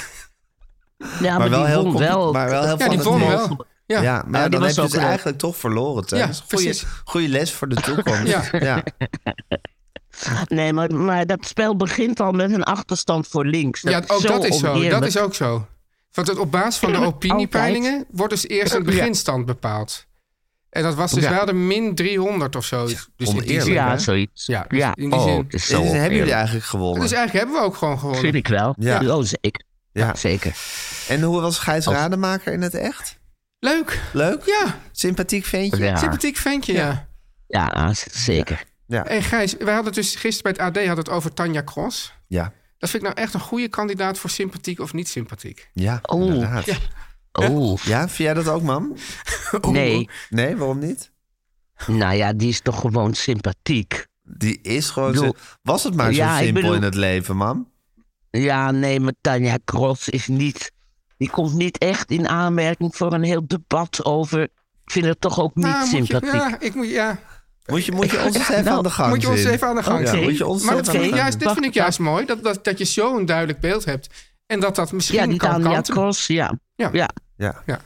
Ja, maar, maar wel die heel won compe- wel. maar wel heel Ja, die fanatiek. won wel. Ja, Ja. maar ja, die dan was heb je ook dus leuk. eigenlijk toch verloren, Teun. Ja, Dat is een goede- precies. Goede les voor de toekomst. Ja. ja. Nee, maar, maar dat spel begint al met een achterstand voor links. Ja, ook dat is zo. Dat oneerlijk. is ook zo. Want het, op basis van de Altijd. opiniepeilingen wordt dus eerst een beginstand bepaald. En dat was dus Ja. wel de min 300 of zo. Dus in die oneerlijk, zin, Ja, hè? zoiets. Ja, Ja, dus in die oh, zin- het is zo Dus hebben jullie oneerlijk. eigenlijk gewonnen? Dus eigenlijk hebben we ook gewoon gewonnen. Vind ik wel. Ja. Ja. zeker. Ja. Ja. zeker. En hoe was Gijs Rademaker in het echt? Leuk. Leuk? Ja, Sympathiek ventje? Ja. sympathiek ventje, ja. Ja, nou, z- zeker. Ja. hey Gijs, wij hadden het dus gisteren bij het AD hadden het over Tanja Cross. Ja. Dat vind ik nou echt een goede kandidaat voor sympathiek of niet sympathiek. Ja, Oh. inderdaad. Ja. Oh, vind jij dat ook, mam? nee. Nee, waarom niet? Nou ja, die is toch gewoon sympathiek. Die is gewoon Ik bedoel- zo... Was het maar zo Ja, ik simpel bedoel- in het leven, mam? Ja, nee, maar Tanja Cross is niet... Die komt niet echt in aanmerking voor een heel debat over... Ik vind het toch ook niet Nou, moet je, sympathiek. ja, ik moet, ja. Moet je, moet je ons eens even nou, aan de gang moet je ons zien? Oh even aan de gang Ja, zien. moet je ons Maar even dat aan de vind ik gang juist, zien. dit vind ik juist mooi. Dat, dat, dat je zo'n duidelijk beeld hebt. En dat dat misschien Ja, die kan Tanja kanten. Cross, ja. Ja. Ja. Ja. Ja.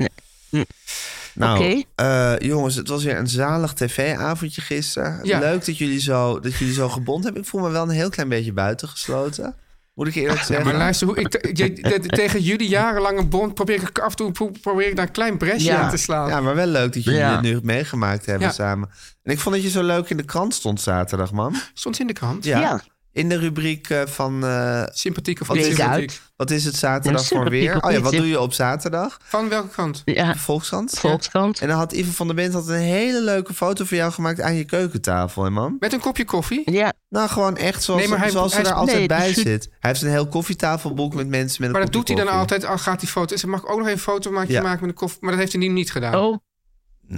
Nou, Hm. Oké. eh, jongens, het was weer een zalig tv-avondje gisteren. Ja. Leuk dat jullie, zo, dat jullie zo gebond hebben. Ik voel me wel een heel klein beetje buitengesloten. Moet ik eerlijk Ja, zeggen. maar luister, hoe ik te- je- de- de- tegen jullie jarenlange bond probeer ik af en toe pro- probeer ik daar een klein bresje Ja. in te slaan. Ja, maar wel leuk dat jullie Ja. dit nu meegemaakt hebben Ja. samen. En ik vond dat je zo leuk in de krant stond zaterdag, man. Stond in de krant. Ja. In de rubriek eh, van... eh, Sympathiek of Wat niet Kijk sympathiek. uit. wat is het zaterdag Ja, voor sympathiek weer? of Oh ja, niet, wat ja. doe je op zaterdag? Van welke kant? Ja, Volkskrant? Volkskrant. En dan had Ivan van der Bent had een hele leuke foto van jou gemaakt aan je keukentafel, hè, man? Met een kopje koffie? Ja, Nou, gewoon echt zoals, Nee, maar hij- zoals ze hij- daar altijd nee, bij dus je- zit. Hij heeft een heel koffietafelboek met mensen met Maar een dat doet hij dan kopje altijd. Al gaat die foto. Ze mag ik ook nog een foto maken, Ja. maken met een koffie. Maar dat heeft hij nu niet gedaan. Oh, koffie.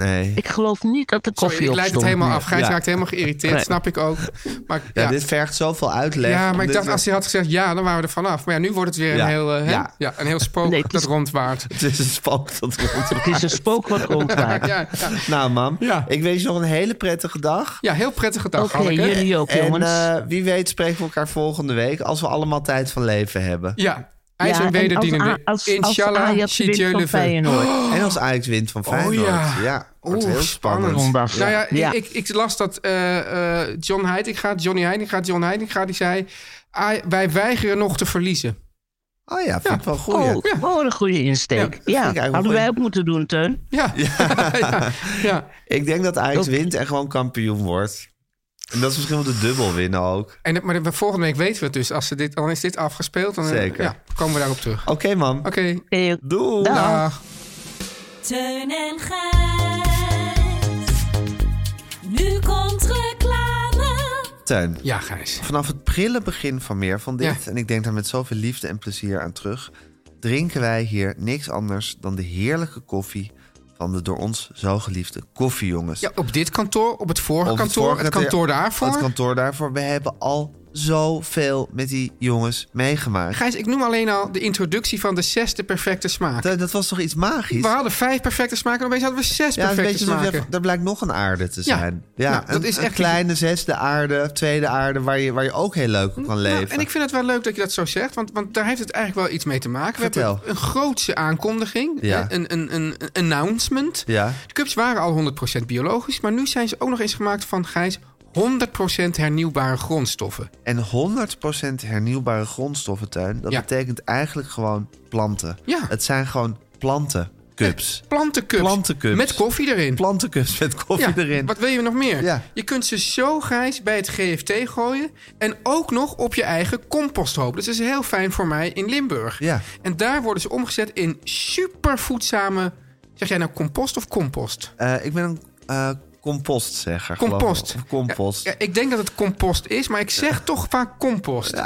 Nee. ik geloof niet dat de Sorry, koffie ik op leid het stond. helemaal Nee. af. Gijs Ja. raakt helemaal geïrriteerd. Nee. Snap ik ook. Maar, Ja, ja, dit vergt zoveel uitleg. Ja, maar ik Dit- dacht, als hij had gezegd ja, dan waren we er vanaf. Maar ja, nu wordt het weer Ja. een heel, eh, hè? Ja. ja. een heel spook Nee, het dat is- rondwaart. Het is een spannend dat Het is een spook wat rondwaart. Ja, ja. Nou, mam, Ja. ik wens je nog een hele prettige dag. ja, heel prettige dag, Oké, Hanneke. jullie ook, en jongens. eh, wie weet spreken we elkaar volgende week als we allemaal tijd van leven hebben. Ja, hij is Ja, een en als wederdienende. A- als- als Inshallah, Ajax ziet wint je van leven. Feyenoord. Oh! En als Ajax wint van Feyenoord. Oh, ja. wordt Oeh, heel spannend. spannend. Zondag. Nou ja, Ja. Ik, ik las dat eh, eh, John Heitinga, Johnny Heitinga, John Heitinga, die zei... "Aj- wij weigeren nog te verliezen. Oh ja, vind ik wel goed. Oh, oh, een goede insteek. Ja, ik eigenlijk hadden wel wij goed. ook moeten doen, Teun. Ja, ja. ja. Ik denk dat Ajax wint en gewoon kampioen wordt. En dat is misschien wel de dubbel winnen ook. En, dat- maar volgende week weten we het dus. Als ze dit, dan is dit afgespeeld. Dan eh, Zeker. Ja, komen we daarop terug. Oké, man. Oké. Doei. Dag. Teun en Gijs. Nu komt reclame. Teun. Ja, Gijs. Vanaf het prille begin van meer van dit... en ik denk daar met zoveel liefde en plezier aan terug... drinken wij hier niks anders dan de heerlijke koffie... van de door ons zo geliefde koffiejongens. Ja, op dit kantoor, op het vorige Of kantoor, het, vorige kantoor daarvoor. Het kantoor daarvoor. We hebben al zoveel met die jongens meegemaakt. Gijs, ik noem alleen al de introductie van de zesde perfecte smaak. Dat, was toch iets magisch? We hadden vijf perfecte smaken en opeens hadden we zes Ja, het is een perfecte beetje alsof je- smaken. er blijkt nog een aarde te Ja. zijn. Ja, Nou, dat is echt een kleine zesde aarde, tweede aarde, waar je, waar je ook heel leuk op kan leven. Nou, en ik vind het wel leuk dat je dat zo zegt, want, want daar heeft het eigenlijk wel iets mee te maken. We Vertel. hebben een grootse aankondiging, Ja. een, een, een, een announcement. Ja. De cups waren al 100% biologisch, maar nu zijn ze ook nog eens gemaakt van Gijs 100% hernieuwbare grondstoffen. En 100% hernieuwbare grondstoffentuin, dat Ja. betekent eigenlijk gewoon planten. Ja. Het zijn gewoon plantencups. Plantencups. Plantencups. Met koffie erin. Plantencups met koffie Ja, erin. Wat wil je nog meer? Ja. Je kunt ze zo grijs bij het GFT gooien. En ook nog op je eigen composthoop. Dat is heel fijn voor mij in Limburg. Ja. En daar worden ze omgezet in supervoedzame. Zeg jij nou compost of compost? Eh, ik ben een eh, compostzegger. geloof ik. Compost. Of compost. Ja, ik denk dat het compost is, maar ik zeg toch vaak compost.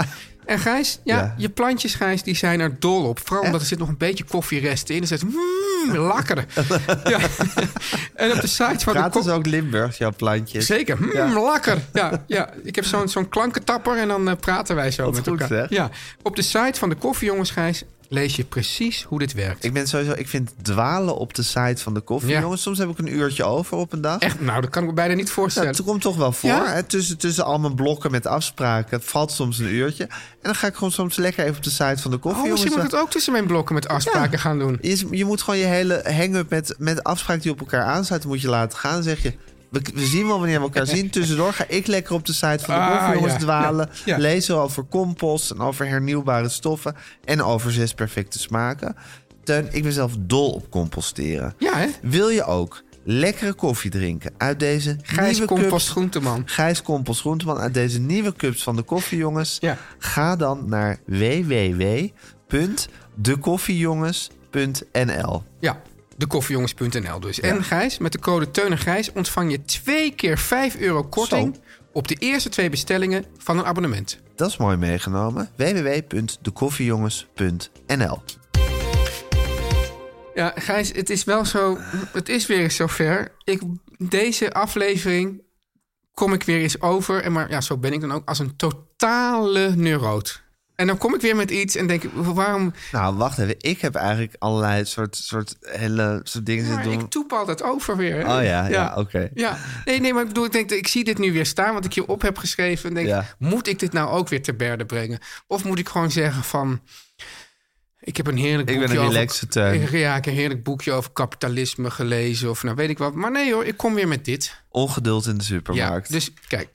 En Gijs, ja, Ja. je plantjes, Gijs, die zijn er dol op. Vooral omdat er zit nog een beetje koffierest in. Dus het is mm, lekker. ja. En op de site van de Gaat dus ook Limburg, jouw plantjes? Zeker, mm, Ja. lekker. Ja, ja. Ik heb zo'n zo'n klankentapper en dan eh, praten wij zo Wat met goed, elkaar. zeg. Ja. Op de site van de Koffiejongens Gijs lees je precies hoe dit werkt. Ik ben sowieso, ik vind dwalen op de site van de koffie. Ja. Jongens, soms heb ik een uurtje over op een dag. Echt, nou, dat kan ik me bijna niet Nou, voorstellen. het komt toch wel voor. Ja. hè? Tussen, tussen al mijn blokken met afspraken. Het valt soms een uurtje. En dan ga ik gewoon soms lekker even op de site van de koffie. oh, misschien moet ik jongens. het ook tussen mijn blokken met afspraken Ja. gaan doen. je, je moet gewoon je hele hang-up met, met afspraken die op elkaar aansluiten... moet je laten gaan. Dan zeg je, we, we zien wel wanneer we elkaar zien. Tussendoor ga ik lekker op de site van de Ah, koffie, jongens, ja. dwalen. Ja. Ja. Lezen over compost en over hernieuwbare stoffen... en over zes perfecte smaken. Teun, ik ben zelf dol op composteren. Ja, hè? Wil je ook lekkere koffie drinken uit deze Gijs nieuwe Compost cups? Groenteman. Gijs Kompels Groenteman uit deze nieuwe cups van de koffiejongens. Ja. Ga dan naar www.dekoffiejongens.nl. Ja, dekoffiejongens.nl dus. En Gijs, met de code Teun en Gijs ontvang je twee keer 5 euro korting... op de eerste twee bestellingen van een abonnement. Dat is mooi meegenomen. www.dekoffiejongens.nl. Ja, Gijs, het is wel zo. Het is weer eens zover. Ik, deze aflevering kom ik weer eens over. En maar ja, zo ben ik dan ook als een totale neuroot. En dan kom ik weer met iets en denk ik, waarom. Nou, wacht even. Ik heb eigenlijk allerlei soort, soort, hele, soort dingen Maar zitten doen. ik toepaal dat over weer. hè? Oh ja, ja, oké. Ja, nee, nee, maar ik bedoel, ik denk, ik zie dit nu weer staan, want ik hierop heb geschreven. En denk, Ja. moet ik dit nou ook weer te berde brengen? Of moet ik gewoon zeggen van, ik heb een heerlijk Ik ben boekje een eh, over- relaxte tuin. Ja, ik heb een heerlijk boekje over kapitalisme gelezen of nou weet ik wat. Maar nee hoor, ik kom weer met dit. Ongeduld in de supermarkt. Ja, dus kijk,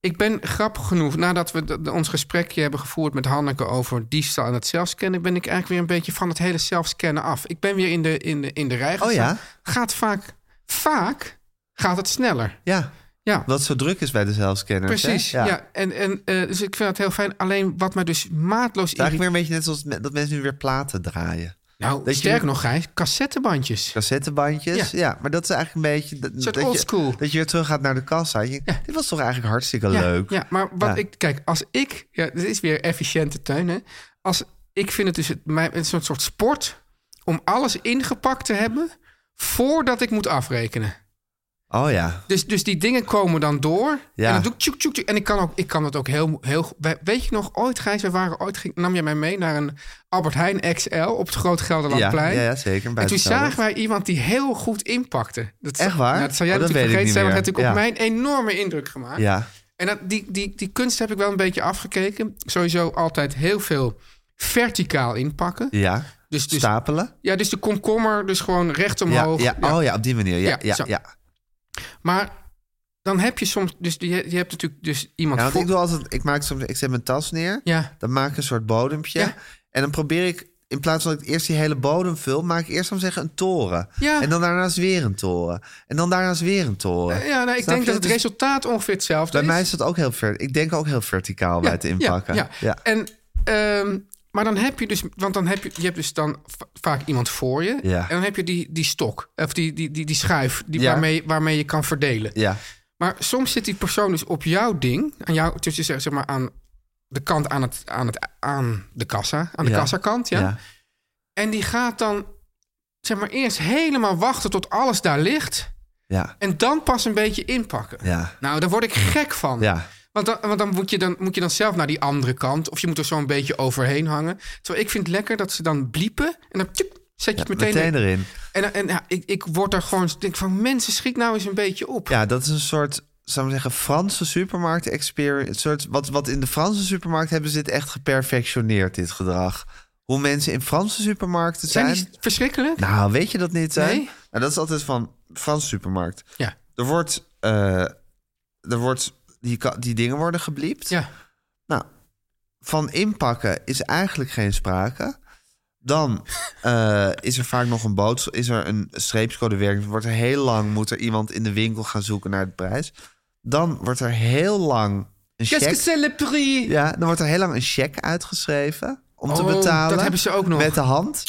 ik ben grappig genoeg, nadat we d- d- ons gesprekje hebben gevoerd met Hanneke over diefstal en het zelfscannen, ben ik eigenlijk weer een beetje van het hele zelfscannen af. Ik ben weer in de, in de, in de rij Oh ja? gestaan. Gaat vaak, vaak gaat het sneller. Ja. Ja. Wat zo druk is bij de zelfscanners. hè? Precies, ja. En, en, eh, dus ik vind dat heel fijn. Alleen wat mij dus maatloos Het is eigenlijk irriteert... weer een beetje net zoals me- dat mensen nu weer platen draaien. Nou, Dat je sterk weer- nog, Gijs, cassettebandjes. Cassettebandjes, ja. Ja. Maar dat is eigenlijk een beetje... Dat, soort dat je- oldschool. Dat je weer terug gaat naar de kassa. Je, Dit was toch eigenlijk hartstikke Ja, leuk. Ja, maar wat Ja. ik... Kijk, als ik... Ja, dit is weer efficiënte tuin, hè. Als, ik vind het dus het, mijn, een soort, soort sport... om alles ingepakt te hebben... voordat ik moet afrekenen. Oh ja. Dus, dus die dingen komen dan door. Ja. En dan doe ik tjoek, tjoek, tjoek. En ik kan, ook, ik kan dat ook heel, heel... goed- wij- Weet je nog, ooit Gijs, we waren ooit... ging- nam je mij mee naar een Albert Heijn XL... op het Groot Gelderlandplein. Ja, ja, ja, zeker, bij En toen het Gelderland. zagen wij iemand die heel goed inpakte. Dat, Echt waar? Nou, dat zou jij Oh, dat natuurlijk weet vergeten ik zijn... want niet dat heeft meer. natuurlijk op mijn enorme indruk gemaakt. Ja. En dat, die, die, die kunst heb ik wel een beetje afgekeken. Sowieso altijd heel veel verticaal inpakken. Ja. Dus, dus, Stapelen. ja, dus de komkommer dus gewoon recht Ja, omhoog. ja. Oh ja, op die manier. Ja, Ja, ja, zo. ja. ja. Maar dan heb je soms... Dus die, je hebt natuurlijk dus iemand... want voor- ik doe altijd... Ik maak soms... Ik zet mijn tas neer. ja. Dan maak ik een soort bodempje. Ja. En dan probeer ik in plaats van dat ik eerst die hele bodem vul, maak ik eerst om zeggen een toren. Ja. En dan daarnaast weer een toren. En dan daarnaast weer een toren. Ja, nou, ik Snap denk je? dat het Dus resultaat ongeveer hetzelfde Bij is. mij is dat ook heel ver. Ik denk ook heel verticaal bij het inpakken. Ja, ja. En, ehm, maar dan heb je dus, want dan heb je, je hebt dus dan va- vaak iemand voor je. Ja. En dan heb je die, die stok, of die, die, die, die schuif, die, Ja. waarmee, waarmee je kan verdelen. Ja. Maar soms zit die persoon dus op jouw ding, aan jou, dus je zegt, zeg maar aan de kant aan, het, aan, het, aan de kassa, aan de Ja. kassakant. Ja? Ja. En die gaat dan, zeg maar, eerst helemaal wachten tot alles daar ligt. Ja. En dan pas een beetje inpakken. Ja. Nou, daar word ik gek van. Ja. Want dan, want dan, moet, je dan moet je dan zelf naar die andere kant. Of je moet er zo een beetje overheen hangen. Terwijl ik vind het lekker dat ze dan bliepen. En dan tjip, zet je het meteen, meteen erin. En, dan- en ja, ik, ik word daar gewoon... ik denk van, mensen, schiet nou eens een beetje op. Ja, dat is een soort, zou ik zeggen, Franse supermarkt experience. Een soort, wat, wat in de Franse supermarkt hebben ze dit echt geperfectioneerd, dit gedrag. Hoe mensen in Franse supermarkten Zijn zijn. die verschrikkelijk? Nou, weet je dat niet, hè? Nee. Nou, dat is altijd van Franse supermarkt. Ja. Er wordt, eh, er wordt die, ka- die dingen worden gebliept. Ja. Nou, van inpakken is eigenlijk geen sprake. Dan eh, is er vaak nog een boodschap, is er een streepscodewerking. Wordt er heel lang, moet er iemand in de winkel gaan zoeken naar de prijs. Dan wordt er heel lang een Qu'est-ce que check. c'est le prix? Ja, dan wordt er heel lang een cheque uitgeschreven om te Oh, betalen. dat hebben ze ook nog. Met de hand.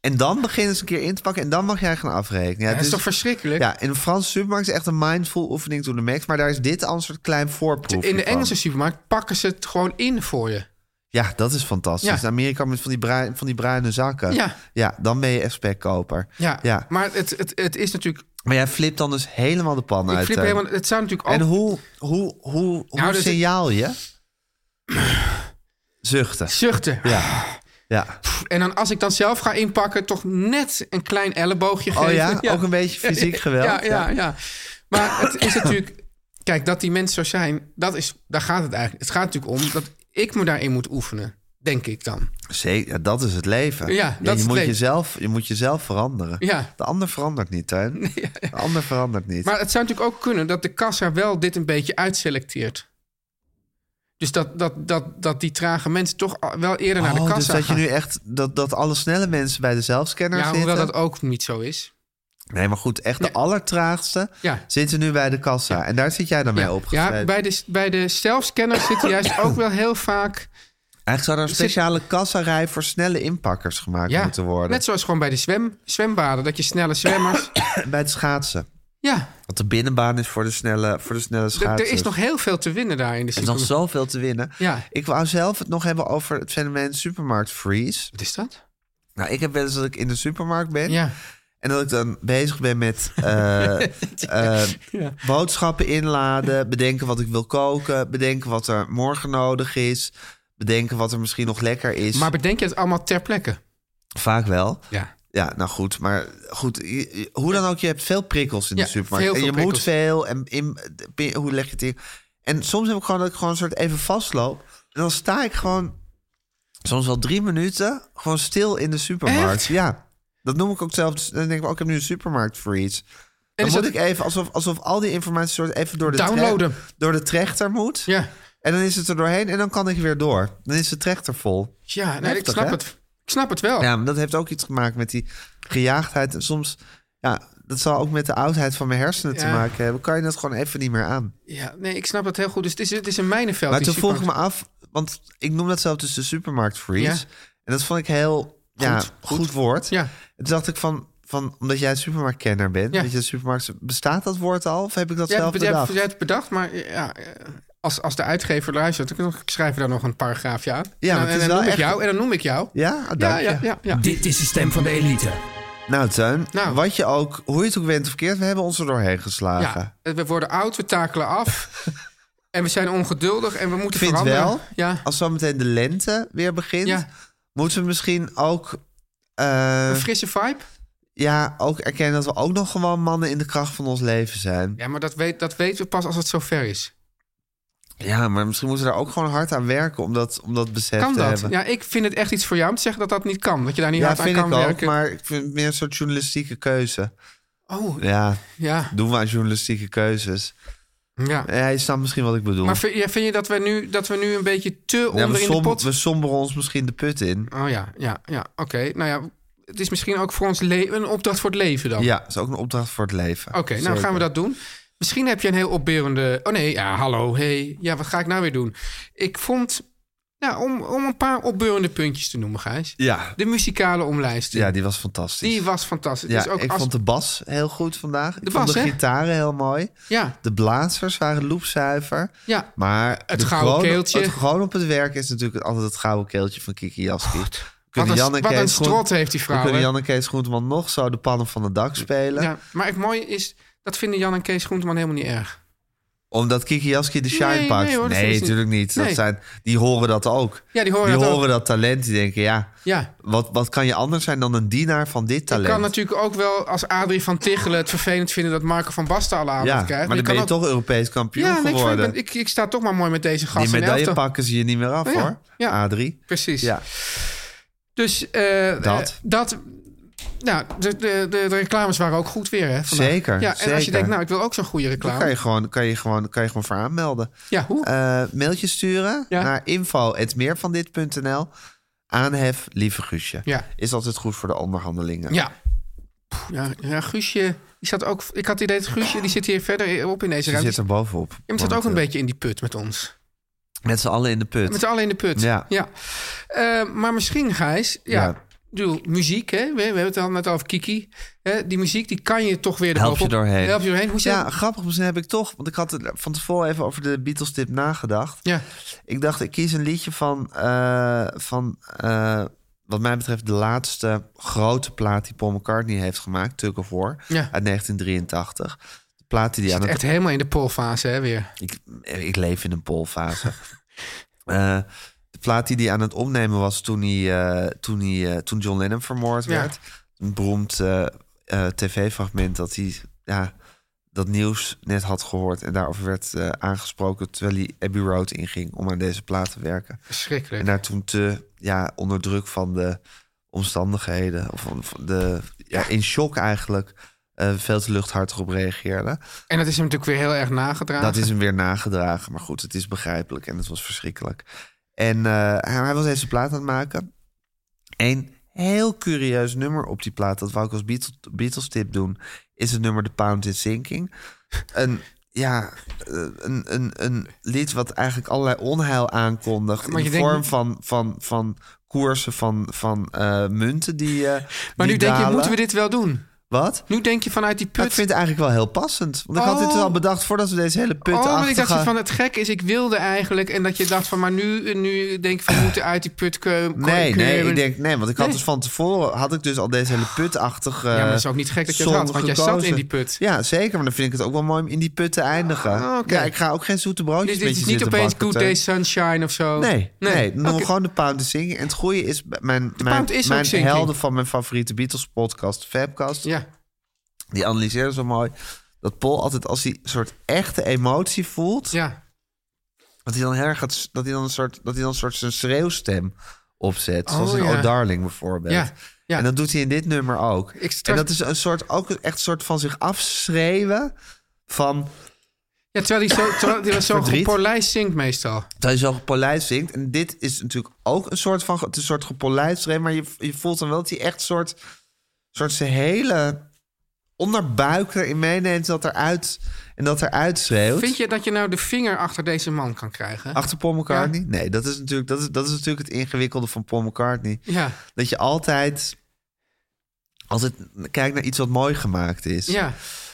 En dan beginnen ze een keer in te pakken en dan mag jij gaan afrekenen. dat het is toch verschrikkelijk? Ja, in de Franse supermarkt is echt een mindful oefening to the max. Maar daar is dit al een soort klein voorproef. in de Engelse supermarkt pakken ze het gewoon in voor je. Ja, dat is fantastisch. Ja. In Amerika met van die, bruin, van die bruine zakken. Ja. dan ben je echt spekkoper. Ja, ja. maar het, het, het is natuurlijk... Maar jij flipt dan dus helemaal de pan Ik uit. flip hè? helemaal, het zou natuurlijk ook... eh, En hoe, hoe, hoe, hoe Nou, dus- signaal je? Zuchten. Zuchten. Ja. ja. En dan als ik dan zelf ga inpakken, toch net een klein elleboogje Oh geven. ja? Ook een beetje fysiek geweld, Ja, ja, ja. ja. Maar het is natuurlijk... Kijk, dat die mensen zo zijn, dat is, daar gaat het eigenlijk. Het gaat natuurlijk om dat ik me daarin moet oefenen. Denk ik dan. Zeker, ja, dat is het leven. Ja, dat is je, het moet leven. Jezelf, je moet jezelf veranderen. Ja. De ander verandert niet, Tuin. De ander verandert niet. Maar het zou natuurlijk ook kunnen dat de kassa wel dit een beetje uitselecteert. Dus dat, dat, dat, dat die trage mensen toch al- wel eerder naar de Oh, kassa dus dat gaan. je nu echt dat, dat alle snelle mensen bij de zelfscanner ja, zitten. hoewel dat ook niet zo is. Nee, maar goed, echt de allertraagste Ja. zitten nu bij de kassa. En daar zit jij dan mee opgeschreven. Ja, bij de, bij de zelfscanners zitten juist ook wel heel vaak... Eigenlijk zou er een speciale kassarij voor snelle inpakkers gemaakt Ja, moeten worden. Net zoals gewoon bij de zwem, zwembaden, dat je snelle zwemmers. Bij het schaatsen. ja, Want de binnenbaan is voor de snelle, voor de snelle d- er schaatsers. is nog heel veel te winnen daar in de Er is nog supermarkt. zoveel te winnen. Ja. Ik wou zelf het nog hebben over het fenomeen supermarkt freeze. Wat is dat? Nou, ik heb wel eens dat ik in de supermarkt ben. Ja. En dat ik dan bezig ben met eh, eh, Ja. boodschappen inladen, bedenken wat ik wil koken, bedenken wat er morgen nodig is, bedenken wat er misschien nog lekker is. Maar bedenk je het allemaal ter plekke? Vaak wel. Ja. Ja, nou goed, maar goed, je- je- hoe dan ook, je hebt veel prikkels in Ja, de supermarkt. heel en je veel moet prikkels. veel en in, pin- hoe leg je het in? En soms heb ik gewoon dat ik gewoon een soort even vastloop. En dan sta ik gewoon soms wel drie minuten gewoon stil in de supermarkt. Echt? Ja, dat noem ik ook zelf. Dus Dan denk ik, oh, ik heb nu een supermarkt freeze. Dan is moet dat- ik even, alsof, alsof al die informatie soort even door de, Downloaden. tre- door de trechter moet. Ja, En dan is het er doorheen en dan kan ik weer door. Dan is de trechter vol. ja nee, ik Heftig, snap hè? het. Ik snap het wel. Ja, maar dat heeft ook iets gemaakt met die gejaagdheid. En soms, ja, dat zal ook met de oudheid van mijn hersenen te Ja. maken hebben. Kan je dat gewoon even niet meer aan. Ja, nee, ik snap het heel goed. Dus het is, het is een mijnenveld. maar die toen vroeg ik me supermarkt. af, want ik noem dat zelf dus de supermarkt freeze. Ja. En dat vond ik heel ja, goed, woord. Ja. En toen dacht ik van, van omdat jij supermarktkenner bent, Ja. weet je, de supermarkt, bestaat dat woord al? Of heb ik dat Jij zelf hebt- jij hebt- bedacht? jij hebt het bedacht, maar ja, eh, als, als de uitgever luistert, dan schrijf je daar nog een paragraafje aan. Ja, maar en, het dan- en dan is wel noem ik echt- jou. En dan noem ik jou. Ja, Ah, ja, dank ja, je. ja, ja. Dit is de stem van de elite. Nou, Teun, Nou. wat je ook, hoe je het ook bent of keert, we hebben ons er doorheen geslagen. Ja, Eh, we worden oud, we takelen af. en we zijn ongeduldig en we moeten Ik vind veranderen. wel, Ja. als zometeen de lente weer begint, Ja. moeten we misschien ook. eh, Een frisse vibe. ja, ook erkennen dat we ook nog gewoon mannen in de kracht van ons leven zijn. Ja, maar dat, weet, dat weten we pas als het zover is. Ja, maar misschien moeten we daar ook gewoon hard aan werken om dat, om dat besef Kan te dat? hebben. Ja, ik vind het echt iets voor jou om te zeggen dat dat niet kan. Dat je daar niet Ja, hard aan vind ik kan ook, werken. maar ik vind het meer een soort journalistieke keuze. Oh, Ja, ja. doen we aan journalistieke keuzes. Ja. Ja, je snapt misschien wat ik bedoel. Maar vind, ja, vind je dat we, nu, dat we nu een beetje te ja, onder we, in de som- pot... we somberen ons misschien de put in. Oh ja, ja, ja. Oké. Nou ja, het is misschien ook voor ons le- een opdracht voor het leven dan. Ja, is ook een opdracht voor het leven. Oh. Oké, nou gaan we dat doen. Misschien heb je een heel opberende... Oh nee, ja, hallo, hey. Ja, wat ga ik nou weer doen? Ik vond... Nou, om, om een paar opbeurende puntjes te noemen, Gijs. Ja. De muzikale omlijsting. Ja, die was fantastisch. Die was fantastisch. ja, Dus ook ik als- vond de bas heel goed vandaag. ik De vond bas, de hè? gitaren heel mooi. Ja. De blazers waren loepzuiver. Ja. Maar Het de gouden kroon- keeltje. Het gewoon op het werk is natuurlijk altijd het gouden keeltje van Kiki Jaski. wat een- wat een strot heeft die vrouw, We kunnen hè? Jan en Kees Groenteman nog zo de pannen van het dak spelen. Ja, maar het mooie is... Dat vinden Jan en Kees Groenteman helemaal niet erg. Omdat Kiki Jaski de shine Nee, pakt. nee Nee, hoor, dat vinden ze natuurlijk niet. Dat Nee. zijn, die horen dat ook. Ja, die horen dat ook. talent. Die denken, ja, Ja. Wat, wat kan je anders zijn dan een dienaar van dit Je talent? kan natuurlijk ook wel als Adrie van Tichelen het vervelend vinden... dat Marco van Basten alle aandacht ja, krijgt. maar je dan ben je kan ook- toch Europees kampioen Ja, nee, ik, vind- ik, geworden. ben- ik, ik sta toch maar mooi met deze gast die in de medaille elftal. Oh pakken ze je niet meer af, Ja, hoor. ja. A3. Precies. Ja. Dus eh, Dat. eh, dat nou, de, de, de, de reclames waren ook goed weer, hè? vandaag. Ja, Zeker, en als je zeker. denkt, nou, ik wil ook zo'n goede reclame. Dan kan je Eh, gewoon, kan je gewoon, kan je gewoon voor aanmelden. Ja, hoe? mailtje sturen naar info.meervandit.nl. Aanhef, lieve Guusje. Ja. Is altijd goed voor de onderhandelingen. Ja. Poeh, ja, ja, Guusje, die zat ook. Ik had het idee dat Guusje, die zit hier verder op in deze Ze ruimte. zit er bovenop. Ja, maar die zat ook een beetje in die put met ons. Met z'n allen in de put. Met z'n allen in de put. Ja. Eh, maar misschien, Gijs, ja. Ja. ik bedoel, muziek, hè? We, we hebben het al net over Kiki. Hè? Die muziek, die kan je toch weer Help je erbovenop- doorheen. Help je doorheen. Hoe zit ja, grappig. Misschien heb ik toch... Want ik had er van tevoren even over de Beatles-tip nagedacht. Ja. Ik dacht, ik kies een liedje van... eh, van eh, wat mij betreft de laatste grote plaat die Paul McCartney heeft gemaakt. Tug of War. Ja. Uit 1983. De plaat die hij aan Zit het echt helemaal in de polfase, hè, weer. Ik, ik leef in een polfase. Eh, de plaat die hij aan het opnemen was toen, hij, eh, toen, hij, eh, toen John Lennon vermoord Ja. werd. Een beroemd eh, eh, tv-fragment dat hij ja, dat nieuws net had gehoord... en daarover werd eh, aangesproken terwijl hij Abbey Road inging... om aan deze plaat te werken. Verschrikkelijk. En daar toen te ja, onder druk van de omstandigheden... of van van de, ja, in shock eigenlijk... eh, veel te luchthartig op reageerde. En dat is hem natuurlijk weer heel erg nagedragen. Dat is hem weer nagedragen. Maar goed, het is begrijpelijk en het was verschrikkelijk. En eh, hij- hij was deze plaat aan het maken. Een heel curieus nummer op die plaat, dat wou ik als Beatles, Beatles tip doen, is het nummer The Pound is Sinking. Een, ja, eh, een, een, een lied wat eigenlijk allerlei onheil aankondigt. Maar in je de denkt vorm niet- van, van, van koersen van, van eh, munten die. eh, Maar die nu denk je, dalen. moeten we dit wel doen? Wat? Nu denk je vanuit die put. Maar ik vind het eigenlijk wel heel passend. Want ik had dit dus Oh. al bedacht voordat we deze hele put oh, want ik achtige- dacht van het gek is, ik wilde eigenlijk. En dat je dacht van, maar nu, nu denk ik van, we moeten uit die put komen. Nee, nee, ik denk, nee, want ik had dus van tevoren had ik dus al deze hele putachtige. Ah. Ja, maar het is ook niet gek dat je het song had, want jij zat gekozen. in die put. Ja, zeker, maar dan vind ik het ook wel mooi om in die put te eindigen. Ah, oké. Ja, ik ga ook geen zoete broodjes Dit, met dit je is niet zitten opeens bakken, Good Teun. Day Sunshine of zo. Nee, nee, dan doen we Oké. gewoon de pound is zingen. En het goede is, b- mijn, mijn, pound is ook mijn zinking. helden van mijn favoriete Beatles podcast, Fabcast, Ja. die analyseren zo mooi dat Paul altijd als hij een soort echte emotie voelt, Ja. dat hij dan heel erg gaat, s- dat hij dan een soort, dat hij dan een soort zijn schreeuwstem opzet, Oh, zoals in ja. Oh Darling bijvoorbeeld. Ja, ja. En dat doet hij in dit nummer ook. Ik straks- En dat is een soort, ook echt een soort van zich afschreeuwen van Ja, terwijl hij zo, terwijl hij was zo Verdriet. gepolijst zingt meestal. Dat je zo gepolijst zingt. En dit is natuurlijk ook een soort van... Het is een soort gepolijst schreeuw, maar je, je voelt dan wel dat hij echt soort... soort zijn hele onderbuik erin meeneemt dat eruit, en dat eruit schreeuwt. Vind je dat je nou de vinger achter deze man kan krijgen? Achter Paul McCartney? Nee, dat is, natuurlijk, dat, is, dat is natuurlijk het ingewikkelde van Paul McCartney. Ja. Dat je altijd... Altijd kijkt naar iets wat mooi gemaakt is. Ja.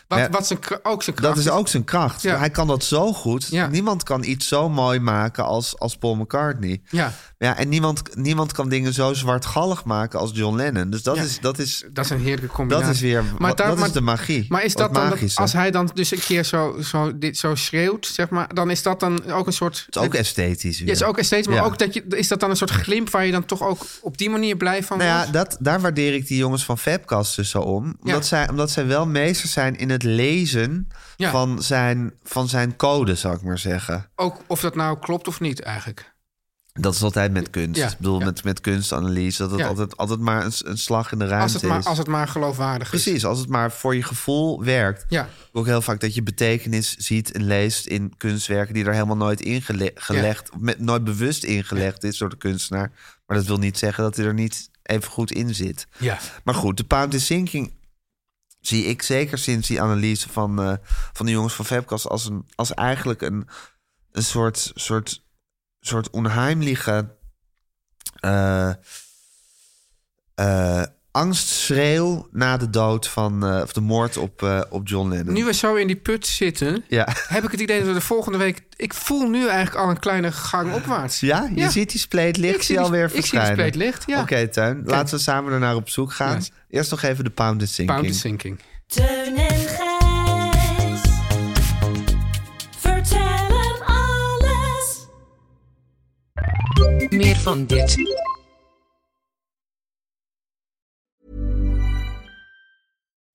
Wat, Ja. wat zijn, kra- ook zijn kracht Dat is ook zijn kracht. Ja. Hij kan dat zo goed. Ja. Niemand kan iets zo mooi maken als, als Paul McCartney. Ja. Ja, en niemand, niemand kan dingen zo zwartgallig maken als John Lennon. Dus dat, Ja. is, dat, is, Dat is een heerlijke combinatie. Dat is weer- wat- daar- dat is de magie. Maar is Dat dat dan, dat- magische. als hij dan dus een keer zo, zo, dit, zo schreeuwt, zeg maar, dan is dat dan ook een soort... het is ook esthetisch. Ja, het is ook esthetisch, maar Ja. ook dat je, is dat dan een soort glimp waar je dan toch ook op die manier blij van Nou ja, wordt? dat, daar waardeer ik die jongens van Fabcast dus zo om. Omdat, Ja. zij, omdat zij wel meester zijn in het lezen Ja. van, zijn, van zijn code, zou ik maar zeggen. Ook of dat nou klopt of niet eigenlijk. Dat is altijd met kunst. Ja, ik bedoel, met, met kunstanalyse. Dat het Ja. altijd, altijd maar een, s- een slag in de ruimte Als het, maar, is. als het maar geloofwaardig is. Precies, als het maar voor je gevoel werkt. Ja. Ook heel vaak dat je betekenis ziet en leest in kunstwerken die er helemaal nooit ingelegd, of met, nooit bewust ingelegd is door de kunstenaar. Maar dat wil niet zeggen dat hij er niet even goed in zit. Ja. Maar goed, de Pound is Sinking zie ik zeker sinds die analyse van, eh, van de jongens van Fabcast als, een, als eigenlijk een, een soort, soort, soort onheimliche eh, eh, angstschreeuw na de dood van eh, of de moord op, eh, op John Lennon. Nu we zo in die put zitten, Ja. heb ik het idee dat we de volgende week... Ik voel nu eigenlijk al een kleine gang opwaarts. Ah. Ja, je ziet die spleet licht Ik zie die die- alweer ik zie die verschijnen. spleet licht, ja. Oké, Tuin, laten we samen ernaar op zoek gaan. Eerst nog even de Pound is Sinking. Pound is Sinking. Teun en Gijs. Vertel hem alles. Meer van dit.